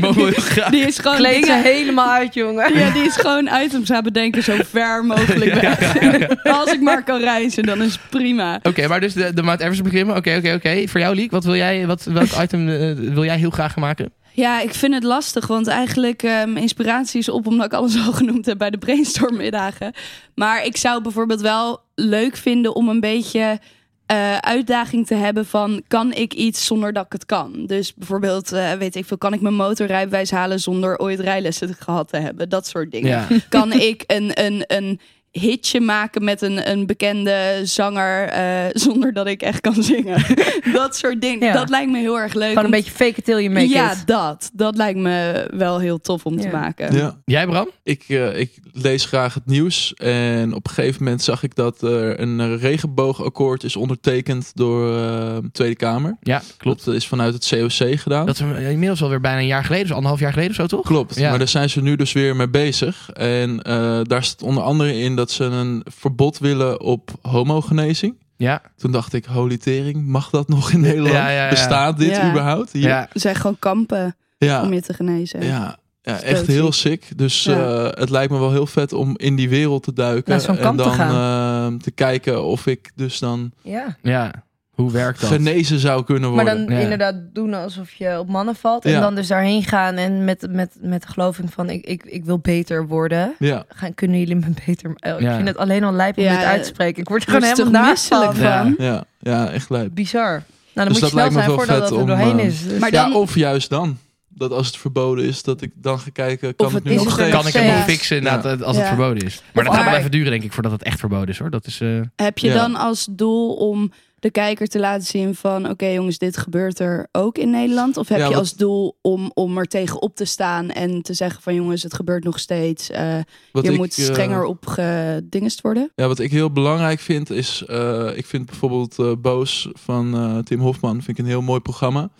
[SPEAKER 5] Mogen we graag-
[SPEAKER 6] die is gewoon
[SPEAKER 7] Kleed ze
[SPEAKER 6] dingen...
[SPEAKER 7] helemaal uit, jongen.
[SPEAKER 6] Ja, die is gewoon items aan bedenken zo ver mogelijk weg. Als ik maar kan reizen, dan is het prima.
[SPEAKER 5] Oké, maar dus de, de Mount Everest beklimmen. Oké, oké, oké. Voor jou, Liek, wat wil jij, wat, welk item eh, wil jij heel graag maken?
[SPEAKER 6] Ja, ik vind het lastig, want eigenlijk ehm inspiratie is op omdat ik alles al genoemd heb bij de brainstormmiddagen. Maar ik zou bijvoorbeeld wel leuk vinden om een beetje eh, uitdaging te hebben van kan ik iets zonder dat ik het kan. Dus bijvoorbeeld, eh, weet ik veel, kan ik mijn motorrijbewijs halen zonder ooit rijlessen gehad te hebben. Dat soort dingen.
[SPEAKER 5] Ja.
[SPEAKER 6] Kan ik een, een, een hitje maken met een, een bekende zanger eh, zonder dat ik echt kan zingen. dat soort dingen.
[SPEAKER 7] Ja.
[SPEAKER 6] Dat lijkt me heel erg leuk.
[SPEAKER 7] Gewoon een
[SPEAKER 6] om
[SPEAKER 7] beetje fake it till you make
[SPEAKER 6] ja,
[SPEAKER 7] it.
[SPEAKER 6] dat. Dat lijkt me wel heel tof om te
[SPEAKER 7] Ja.
[SPEAKER 6] maken.
[SPEAKER 8] Ja.
[SPEAKER 5] Jij, Bram?
[SPEAKER 8] Ik, eh, ik lees graag het nieuws. En op een gegeven moment zag ik dat er een eh, regenboogakkoord is ondertekend door eh, de Tweede Kamer.
[SPEAKER 5] Ja,
[SPEAKER 8] Dat is vanuit het COC gedaan.
[SPEAKER 5] Dat is eh, inmiddels alweer bijna een jaar geleden, dus anderhalf jaar geleden of zo, toch?
[SPEAKER 8] Klopt,
[SPEAKER 5] Ja.
[SPEAKER 8] maar daar zijn ze nu dus weer mee bezig. En eh, daar staat onder andere in dat ze een verbod willen op homogenezing.
[SPEAKER 5] Ja.
[SPEAKER 8] Toen dacht ik, holy tering, mag dat nog in Nederland?
[SPEAKER 5] Ja, ja, ja.
[SPEAKER 8] Bestaat dit
[SPEAKER 6] Ja.
[SPEAKER 8] überhaupt? Hier?
[SPEAKER 5] ja.
[SPEAKER 6] Er zijn gewoon kampen
[SPEAKER 8] ja.
[SPEAKER 6] om je te genezen.
[SPEAKER 8] Ja, ja
[SPEAKER 6] Stootziek.
[SPEAKER 8] echt heel sick. Dus
[SPEAKER 6] Ja.
[SPEAKER 8] eh, het lijkt me wel heel vet om in die wereld te duiken.
[SPEAKER 7] Naar zo'n
[SPEAKER 8] en
[SPEAKER 7] kamp te
[SPEAKER 8] dan
[SPEAKER 7] gaan.
[SPEAKER 8] eh, te kijken of ik dus dan
[SPEAKER 7] Ja.
[SPEAKER 5] Ja. Hoe werkt dat?
[SPEAKER 8] genezen zou kunnen
[SPEAKER 7] Maar
[SPEAKER 8] worden.
[SPEAKER 7] dan
[SPEAKER 5] Ja.
[SPEAKER 7] inderdaad doen alsof je op mannen valt. En
[SPEAKER 8] Ja.
[SPEAKER 7] dan dus daarheen gaan en met, met, met de geloving van ik, ik, ik wil beter worden.
[SPEAKER 8] Ja,
[SPEAKER 7] Gaan, kunnen jullie me beter... Oh, ik
[SPEAKER 5] Ja.
[SPEAKER 7] vind het alleen al lijp om
[SPEAKER 6] Ja,
[SPEAKER 7] dit uit te spreken. Ik word er
[SPEAKER 6] Daar
[SPEAKER 7] gewoon
[SPEAKER 6] is toch
[SPEAKER 7] helemaal misselijk
[SPEAKER 6] misselijk
[SPEAKER 7] van.
[SPEAKER 5] Ja.
[SPEAKER 6] van.
[SPEAKER 8] ja, ja, echt lijp.
[SPEAKER 7] Bizar. Nou, dan
[SPEAKER 8] Dus
[SPEAKER 7] moet je
[SPEAKER 8] dat
[SPEAKER 7] snel
[SPEAKER 8] lijkt me
[SPEAKER 7] zijn
[SPEAKER 8] wel
[SPEAKER 7] voordat
[SPEAKER 8] vet
[SPEAKER 7] dat er
[SPEAKER 8] om,
[SPEAKER 7] doorheen
[SPEAKER 8] eh,
[SPEAKER 7] is. Dus-
[SPEAKER 6] Maar
[SPEAKER 8] ja,
[SPEAKER 6] dan-
[SPEAKER 8] of juist dan. Dat als het verboden is, dat ik dan ga kijken, kan
[SPEAKER 6] Of
[SPEAKER 8] het
[SPEAKER 6] het
[SPEAKER 8] nu
[SPEAKER 7] is er
[SPEAKER 8] nog
[SPEAKER 7] nog
[SPEAKER 8] steeds?
[SPEAKER 5] Kan ik hem
[SPEAKER 7] Ja.
[SPEAKER 5] nog fixen inderdaad, eh, als het
[SPEAKER 6] Ja.
[SPEAKER 5] verboden is? Maar dat gaat wel
[SPEAKER 6] Maar-
[SPEAKER 5] even duren, denk ik, voordat het echt verboden is, hoor. Dat is... eh,
[SPEAKER 6] Heb je
[SPEAKER 8] Ja.
[SPEAKER 6] dan als doel om de kijker te laten zien van... oké jongens, dit gebeurt er ook in Nederland? Of heb
[SPEAKER 8] Ja,
[SPEAKER 6] je
[SPEAKER 8] wat-
[SPEAKER 6] als doel om, om er tegen op te staan en te zeggen van... jongens, het gebeurt nog steeds. eh,
[SPEAKER 8] Wat
[SPEAKER 6] je
[SPEAKER 8] ik,
[SPEAKER 6] moet
[SPEAKER 8] eh,
[SPEAKER 6] strenger op gedingest worden.
[SPEAKER 8] Ja, wat ik heel belangrijk vind is, eh, ik vind bijvoorbeeld eh, Boos van eh, Tim Hofman vind ik een heel mooi programma.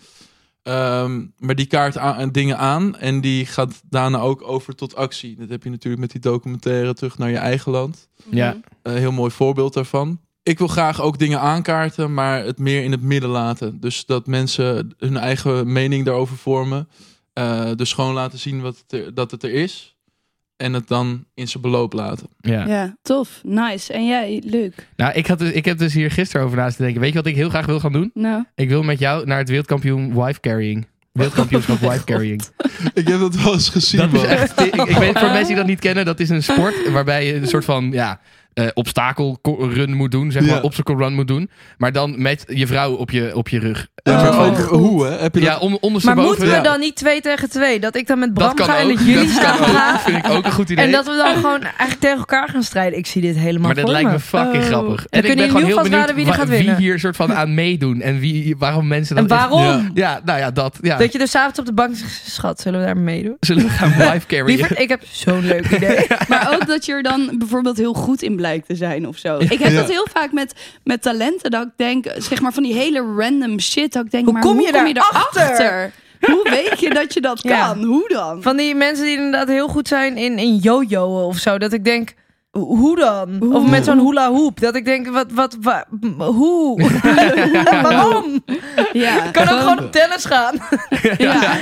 [SPEAKER 8] Ehm, maar die kaart aan, dingen aan en die gaat daarna ook over tot actie. Dat heb je natuurlijk met die documentaire terug naar je eigen land.
[SPEAKER 5] ja.
[SPEAKER 8] Een heel mooi voorbeeld daarvan. Ik wil graag ook dingen aankaarten, maar het meer in het midden laten. Dus dat mensen hun eigen mening daarover vormen. Eh, dus gewoon laten zien wat het er- dat het er is. En het dan in zijn beloop laten.
[SPEAKER 5] ja.
[SPEAKER 6] Ja. tof. Nice. En jij, Luc?
[SPEAKER 5] Nou, ik, had dus, ik heb dus hier gisteren over naast te denken. Weet je wat ik heel graag wil gaan doen?
[SPEAKER 6] Nou,
[SPEAKER 5] Ik wil met jou naar het wereldkampioen wife carrying. Wereldkampioenschap wife carrying.
[SPEAKER 8] Ik heb dat wel eens gezien.
[SPEAKER 5] Dat is
[SPEAKER 8] man.
[SPEAKER 5] echt, ik, ik weet voor mensen die dat niet kennen, dat is een sport waarbij je een soort van ja, eh, obstakelrun moet doen, zeg maar,
[SPEAKER 8] Ja.
[SPEAKER 5] obstacle run moet doen, maar dan met je vrouw op je, op je rug.
[SPEAKER 8] Ja, maar
[SPEAKER 7] Oh.
[SPEAKER 8] ook hoe, hè? Heb je
[SPEAKER 5] Ja,
[SPEAKER 8] dat...
[SPEAKER 5] om,
[SPEAKER 7] Maar
[SPEAKER 5] ondersteboven.
[SPEAKER 7] moeten we
[SPEAKER 8] Ja.
[SPEAKER 7] dan niet twee tegen twee? Dat ik dan met
[SPEAKER 5] dat
[SPEAKER 7] Bram
[SPEAKER 5] kan
[SPEAKER 7] ga en
[SPEAKER 5] ook.
[SPEAKER 7] dat jullie
[SPEAKER 5] dat
[SPEAKER 7] staan
[SPEAKER 5] kan ook.
[SPEAKER 7] gaan.
[SPEAKER 5] Vind ik ook een goed idee.
[SPEAKER 7] En dat we dan gewoon eigenlijk tegen elkaar gaan strijden. Ik zie dit helemaal
[SPEAKER 5] maar dat
[SPEAKER 7] voor
[SPEAKER 5] lijkt
[SPEAKER 7] me.
[SPEAKER 5] me fucking
[SPEAKER 6] Oh.
[SPEAKER 5] grappig.
[SPEAKER 7] kunnen
[SPEAKER 5] En ik ben
[SPEAKER 7] jullie
[SPEAKER 5] gewoon heel
[SPEAKER 7] vast
[SPEAKER 5] benieuwd
[SPEAKER 7] raden wie er
[SPEAKER 5] wa-
[SPEAKER 7] gaat winnen.
[SPEAKER 5] hier soort van aan meedoen en wie, waarom mensen dat
[SPEAKER 7] En waarom?
[SPEAKER 8] Ja.
[SPEAKER 5] Ja, nou ja, dat. Ja.
[SPEAKER 7] Dat je dus s'avonds op de bank zegt, schat, zullen we daar meedoen?
[SPEAKER 5] Zullen we gaan wife carrying?
[SPEAKER 7] Lieverd, ik heb zo'n leuk idee.
[SPEAKER 6] Maar ook dat je er dan bijvoorbeeld heel goed in blijkt te zijn of zo. Ik heb
[SPEAKER 8] Ja.
[SPEAKER 6] dat heel vaak met, met talenten. Dat ik denk, zeg maar van die hele random shit. Dat ik denk,
[SPEAKER 7] Hoe
[SPEAKER 6] maar
[SPEAKER 7] kom je
[SPEAKER 6] hoe kom je
[SPEAKER 7] daarachter?
[SPEAKER 6] daarachter? Hoe weet je dat je dat kan?
[SPEAKER 7] Ja.
[SPEAKER 6] Hoe dan?
[SPEAKER 7] Van die mensen die inderdaad heel goed zijn in, in jojoen of zo. Dat ik denk, hoe dan? Of met zo'n hula hoop. Dat ik denk, wat, wat, wa- m- hoe? Waarom?
[SPEAKER 6] Ja,
[SPEAKER 7] Ik kan ook gewoon op tennis gaan.
[SPEAKER 6] ja.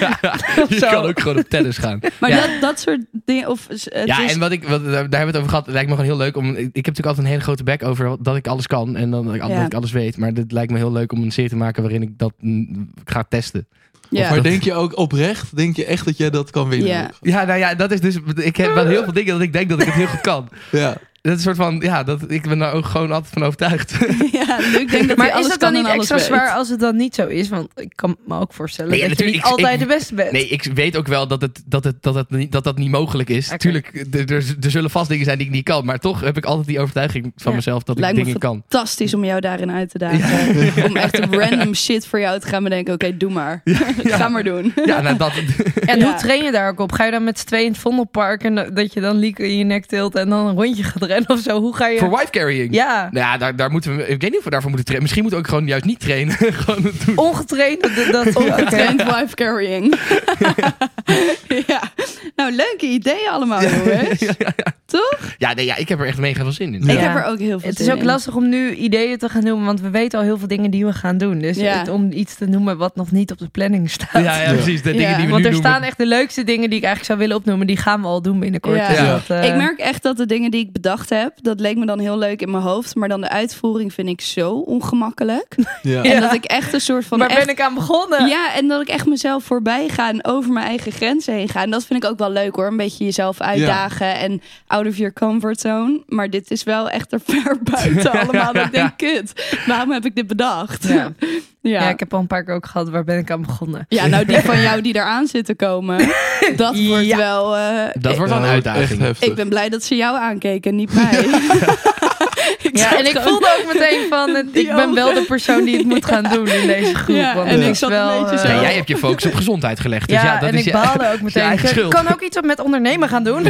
[SPEAKER 5] je
[SPEAKER 7] zo.
[SPEAKER 5] kan ook gewoon op tennis gaan.
[SPEAKER 6] Maar
[SPEAKER 5] Ja.
[SPEAKER 6] dat, dat soort dingen. Of, eh, het
[SPEAKER 5] Ja,
[SPEAKER 6] is-
[SPEAKER 5] en wat ik, wat, daar daar hebben we het over gehad. Het lijkt me gewoon heel leuk om. Ik ik heb natuurlijk altijd een hele grote bek over dat ik alles kan en dan dat ik, al-
[SPEAKER 6] Ja.
[SPEAKER 5] dat ik alles weet. Maar dit lijkt me heel leuk om een serie te maken waarin ik dat mm, ga testen.
[SPEAKER 6] ja.
[SPEAKER 8] Maar denk je ook oprecht, denk je echt dat jij dat kan winnen?
[SPEAKER 6] Ja.
[SPEAKER 5] Ja, nou ja, dat is dus. Ik heb wel heel veel dingen dat ik denk dat ik het heel goed kan.
[SPEAKER 8] Ja.
[SPEAKER 5] Dat is soort van, ja, dat, ik ben daar ook gewoon altijd van overtuigd.
[SPEAKER 6] Ja, Luc denkt dat hij
[SPEAKER 7] Maar
[SPEAKER 6] alles
[SPEAKER 7] is dat
[SPEAKER 6] kan en
[SPEAKER 7] dan niet
[SPEAKER 6] alles
[SPEAKER 7] extra
[SPEAKER 6] weet.
[SPEAKER 7] zwaar als het dan niet zo is? Want ik kan me ook voorstellen
[SPEAKER 5] Nee, ja,
[SPEAKER 7] dat je niet
[SPEAKER 5] natuurlijk, ik-
[SPEAKER 7] altijd
[SPEAKER 5] ik-
[SPEAKER 7] de beste bent.
[SPEAKER 5] Nee, ik weet ook wel dat het, dat het, dat het, niet, dat dat niet mogelijk is.
[SPEAKER 7] Oké.
[SPEAKER 5] Tuurlijk, er, er- er zullen vast dingen zijn die ik niet kan. Maar toch heb ik altijd die overtuiging van
[SPEAKER 7] Ja.
[SPEAKER 5] mezelf dat
[SPEAKER 6] Lijkt
[SPEAKER 5] ik
[SPEAKER 6] me
[SPEAKER 5] dingen kan.
[SPEAKER 6] fantastisch om jou daarin uit te dagen. Om echt op random shit voor jou te gaan bedenken. Oké, doe maar. Ga maar doen.
[SPEAKER 5] Ja, nou, dat,
[SPEAKER 7] En
[SPEAKER 6] Ja.
[SPEAKER 7] hoe train je daar ook op? Ga je dan met z'n tweeën in het Vondelpark en dat- dat je dan Lieke in je nek tilt en dan een rondje gaat rennen of zo? Hoe ga je...
[SPEAKER 5] voor wife carrying.
[SPEAKER 7] Ja,
[SPEAKER 5] Nou ja, daar, daar moeten we. Ik weet niet of we daarvoor moeten trainen. Misschien moeten we ook gewoon juist niet trainen. gewoon het doen.
[SPEAKER 7] ongetraind. Dat, dat,
[SPEAKER 6] Trained wife carrying. ja. Nou, leuke ideeën allemaal, jongens. Toch?
[SPEAKER 5] Ja, nee, ja, ik heb er echt mega veel zin in.
[SPEAKER 7] Ja.
[SPEAKER 6] Ik heb er ook heel veel
[SPEAKER 7] Het is
[SPEAKER 6] zin
[SPEAKER 7] ook
[SPEAKER 6] in.
[SPEAKER 7] lastig om nu ideeën te gaan noemen, want we weten al heel veel dingen die we gaan doen. Dus
[SPEAKER 6] Ja.
[SPEAKER 7] het- om iets te noemen wat nog niet op de planning
[SPEAKER 5] Ja,
[SPEAKER 7] staat.
[SPEAKER 5] ja, precies. De
[SPEAKER 6] Ja.
[SPEAKER 5] dingen die we
[SPEAKER 7] Want
[SPEAKER 5] nu
[SPEAKER 7] er
[SPEAKER 5] doen.
[SPEAKER 7] staan echt de leukste dingen die ik eigenlijk zou willen opnoemen. Die gaan we al doen binnenkort.
[SPEAKER 6] Ja.
[SPEAKER 7] Dus
[SPEAKER 5] Ja.
[SPEAKER 7] dat, eh,
[SPEAKER 6] Ik merk echt dat de dingen die ik bedacht heb, dat leek me dan heel leuk in mijn hoofd. Maar dan de uitvoering vind ik zo ongemakkelijk.
[SPEAKER 8] Ja.
[SPEAKER 6] En dat ik echt een soort van...
[SPEAKER 7] Waar
[SPEAKER 6] echt-
[SPEAKER 7] ben ik aan begonnen?
[SPEAKER 6] Ja, en dat ik echt mezelf voorbij ga en over mijn eigen grenzen heen ga. En dat vind ik ook wel leuk hoor. Een beetje jezelf uitdagen en out of your comfort zone. Maar dit is wel echt er ver buiten allemaal. Dat ik denk, kut, waarom heb ik dit bedacht?
[SPEAKER 7] Ja.
[SPEAKER 6] ja.
[SPEAKER 7] Ja, ik heb al een paar keer ook gehad. Waar ben ik aan begonnen?
[SPEAKER 6] Ja, nou die van jou die eraan zit te komen. Dat wordt
[SPEAKER 7] Ja.
[SPEAKER 6] wel... eh,
[SPEAKER 5] Dat wordt wel een
[SPEAKER 8] Echt
[SPEAKER 5] uitdaging.
[SPEAKER 8] heftig.
[SPEAKER 6] ik ben blij dat ze jou aankeken, niet mij. Ik
[SPEAKER 7] Ja,
[SPEAKER 6] zat
[SPEAKER 7] en ik
[SPEAKER 6] gewoon-
[SPEAKER 7] voelde ook meteen van, het-
[SPEAKER 6] Die
[SPEAKER 7] ik ben wel de persoon die het moet gaan doen in deze groep.
[SPEAKER 6] Ja,
[SPEAKER 7] want
[SPEAKER 6] en
[SPEAKER 7] het
[SPEAKER 6] ik
[SPEAKER 7] is
[SPEAKER 6] zat een
[SPEAKER 7] wel,
[SPEAKER 6] beetje
[SPEAKER 7] eh,
[SPEAKER 6] zo-
[SPEAKER 5] Nee, jij hebt je focus op gezondheid gelegd. Dus
[SPEAKER 7] ja,
[SPEAKER 5] ja, dat
[SPEAKER 7] en
[SPEAKER 5] is
[SPEAKER 7] ik
[SPEAKER 5] je-
[SPEAKER 7] baalde ook meteen.
[SPEAKER 5] eigen
[SPEAKER 7] Ik
[SPEAKER 5] schuld.
[SPEAKER 7] kan ook iets met ondernemen gaan doen.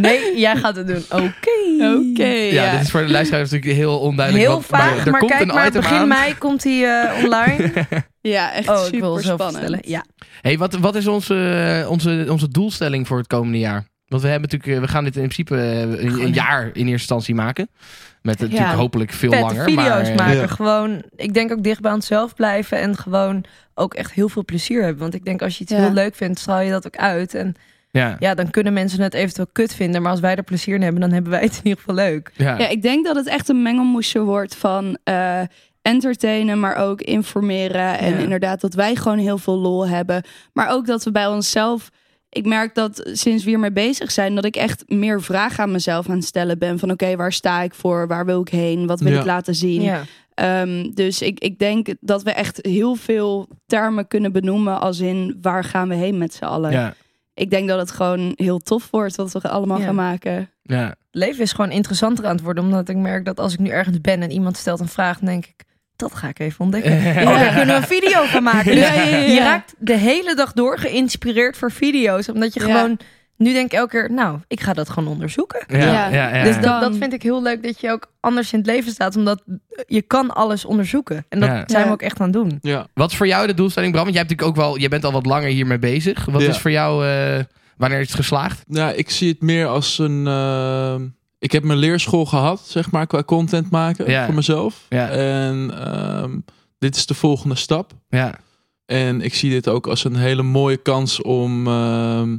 [SPEAKER 7] nee, jij gaat het doen. Oké.
[SPEAKER 6] Oké,
[SPEAKER 5] Ja,
[SPEAKER 6] ja.
[SPEAKER 5] dit is voor de luisteraar natuurlijk heel onduidelijk.
[SPEAKER 7] Heel
[SPEAKER 5] wat-
[SPEAKER 7] vaag,
[SPEAKER 5] er
[SPEAKER 7] maar
[SPEAKER 5] komt
[SPEAKER 7] kijk
[SPEAKER 5] een
[SPEAKER 7] maar,
[SPEAKER 5] item
[SPEAKER 7] begin
[SPEAKER 5] aan.
[SPEAKER 7] mei komt hij eh, online.
[SPEAKER 6] Ja, echt
[SPEAKER 7] Oh, ik wil
[SPEAKER 6] super
[SPEAKER 7] zo
[SPEAKER 6] spannend.
[SPEAKER 7] vertellen. Ja.
[SPEAKER 5] Hey, wat, wat is onze, onze, onze doelstelling voor het komende jaar? Want we, hebben natuurlijk, eh, we gaan dit in principe eh, een, een jaar in eerste instantie maken. Met eh, natuurlijk hopelijk veel
[SPEAKER 7] Vette
[SPEAKER 5] langer.
[SPEAKER 7] video's
[SPEAKER 5] maar, eh,
[SPEAKER 7] maken.
[SPEAKER 8] Ja.
[SPEAKER 7] Gewoon, ik denk ook dicht bij onszelf blijven en gewoon ook echt heel veel plezier hebben. Want ik denk als je iets
[SPEAKER 6] Ja.
[SPEAKER 7] heel leuk vindt, straal je dat ook uit. En
[SPEAKER 5] Ja,
[SPEAKER 7] ja, dan kunnen mensen het eventueel kut vinden. Maar als wij er plezier in hebben, dan hebben wij het in ieder geval leuk.
[SPEAKER 5] ja.
[SPEAKER 6] Ja, ik denk dat het echt een mengelmoesje wordt van eh, entertainen, maar ook informeren. En
[SPEAKER 7] Ja.
[SPEAKER 6] inderdaad dat wij gewoon heel veel lol hebben. Maar ook dat we bij onszelf... Ik merk dat sinds we hiermee bezig zijn, dat ik echt meer vragen aan mezelf aan het stellen ben. Van oké, waar sta ik voor? Waar wil ik heen? Wat wil
[SPEAKER 8] Ja.
[SPEAKER 6] ik laten zien?
[SPEAKER 7] Ja.
[SPEAKER 6] Ehm, dus ik, ik denk dat we echt heel veel termen kunnen benoemen als in waar gaan we heen met z'n allen.
[SPEAKER 5] ja,
[SPEAKER 6] Ik denk dat het gewoon heel tof wordt wat we allemaal
[SPEAKER 7] Ja.
[SPEAKER 6] gaan maken.
[SPEAKER 5] ja.
[SPEAKER 7] Leven is gewoon interessanter aan het worden. Omdat ik merk dat als ik nu ergens ben en iemand stelt een vraag, dan denk ik... Dat ga ik even ontdekken. Oh, daar kunnen we een video van maken. Dus
[SPEAKER 6] Ja, ja, ja, ja.
[SPEAKER 7] Je raakt de hele dag door geïnspireerd voor video's. Omdat je
[SPEAKER 6] Ja.
[SPEAKER 7] gewoon... Nu denk ik elke keer, nou, ik ga dat gewoon onderzoeken.
[SPEAKER 5] Ja,
[SPEAKER 6] Ja.
[SPEAKER 5] ja, ja.
[SPEAKER 7] Dus
[SPEAKER 6] dan-
[SPEAKER 7] dat, dat vind ik heel leuk dat je ook anders in het leven staat. Omdat je kan alles onderzoeken. En dat
[SPEAKER 5] Ja.
[SPEAKER 7] zijn we
[SPEAKER 6] Ja.
[SPEAKER 7] ook echt aan het doen.
[SPEAKER 8] Ja.
[SPEAKER 5] Wat is voor jou de doelstelling, Bram? Want jij, hebt natuurlijk ook wel, jij bent al wat langer hiermee bezig. Wat
[SPEAKER 8] Ja.
[SPEAKER 5] is voor jou, eh, wanneer is het geslaagd?
[SPEAKER 8] Nou, ik zie het meer als een. ehm, ik heb mijn leerschool gehad, zeg maar, qua content maken
[SPEAKER 5] Ja.
[SPEAKER 8] voor mezelf.
[SPEAKER 5] Ja.
[SPEAKER 8] En ehm, dit is de volgende stap.
[SPEAKER 5] Ja,
[SPEAKER 8] En ik zie dit ook als een hele mooie kans om ehm,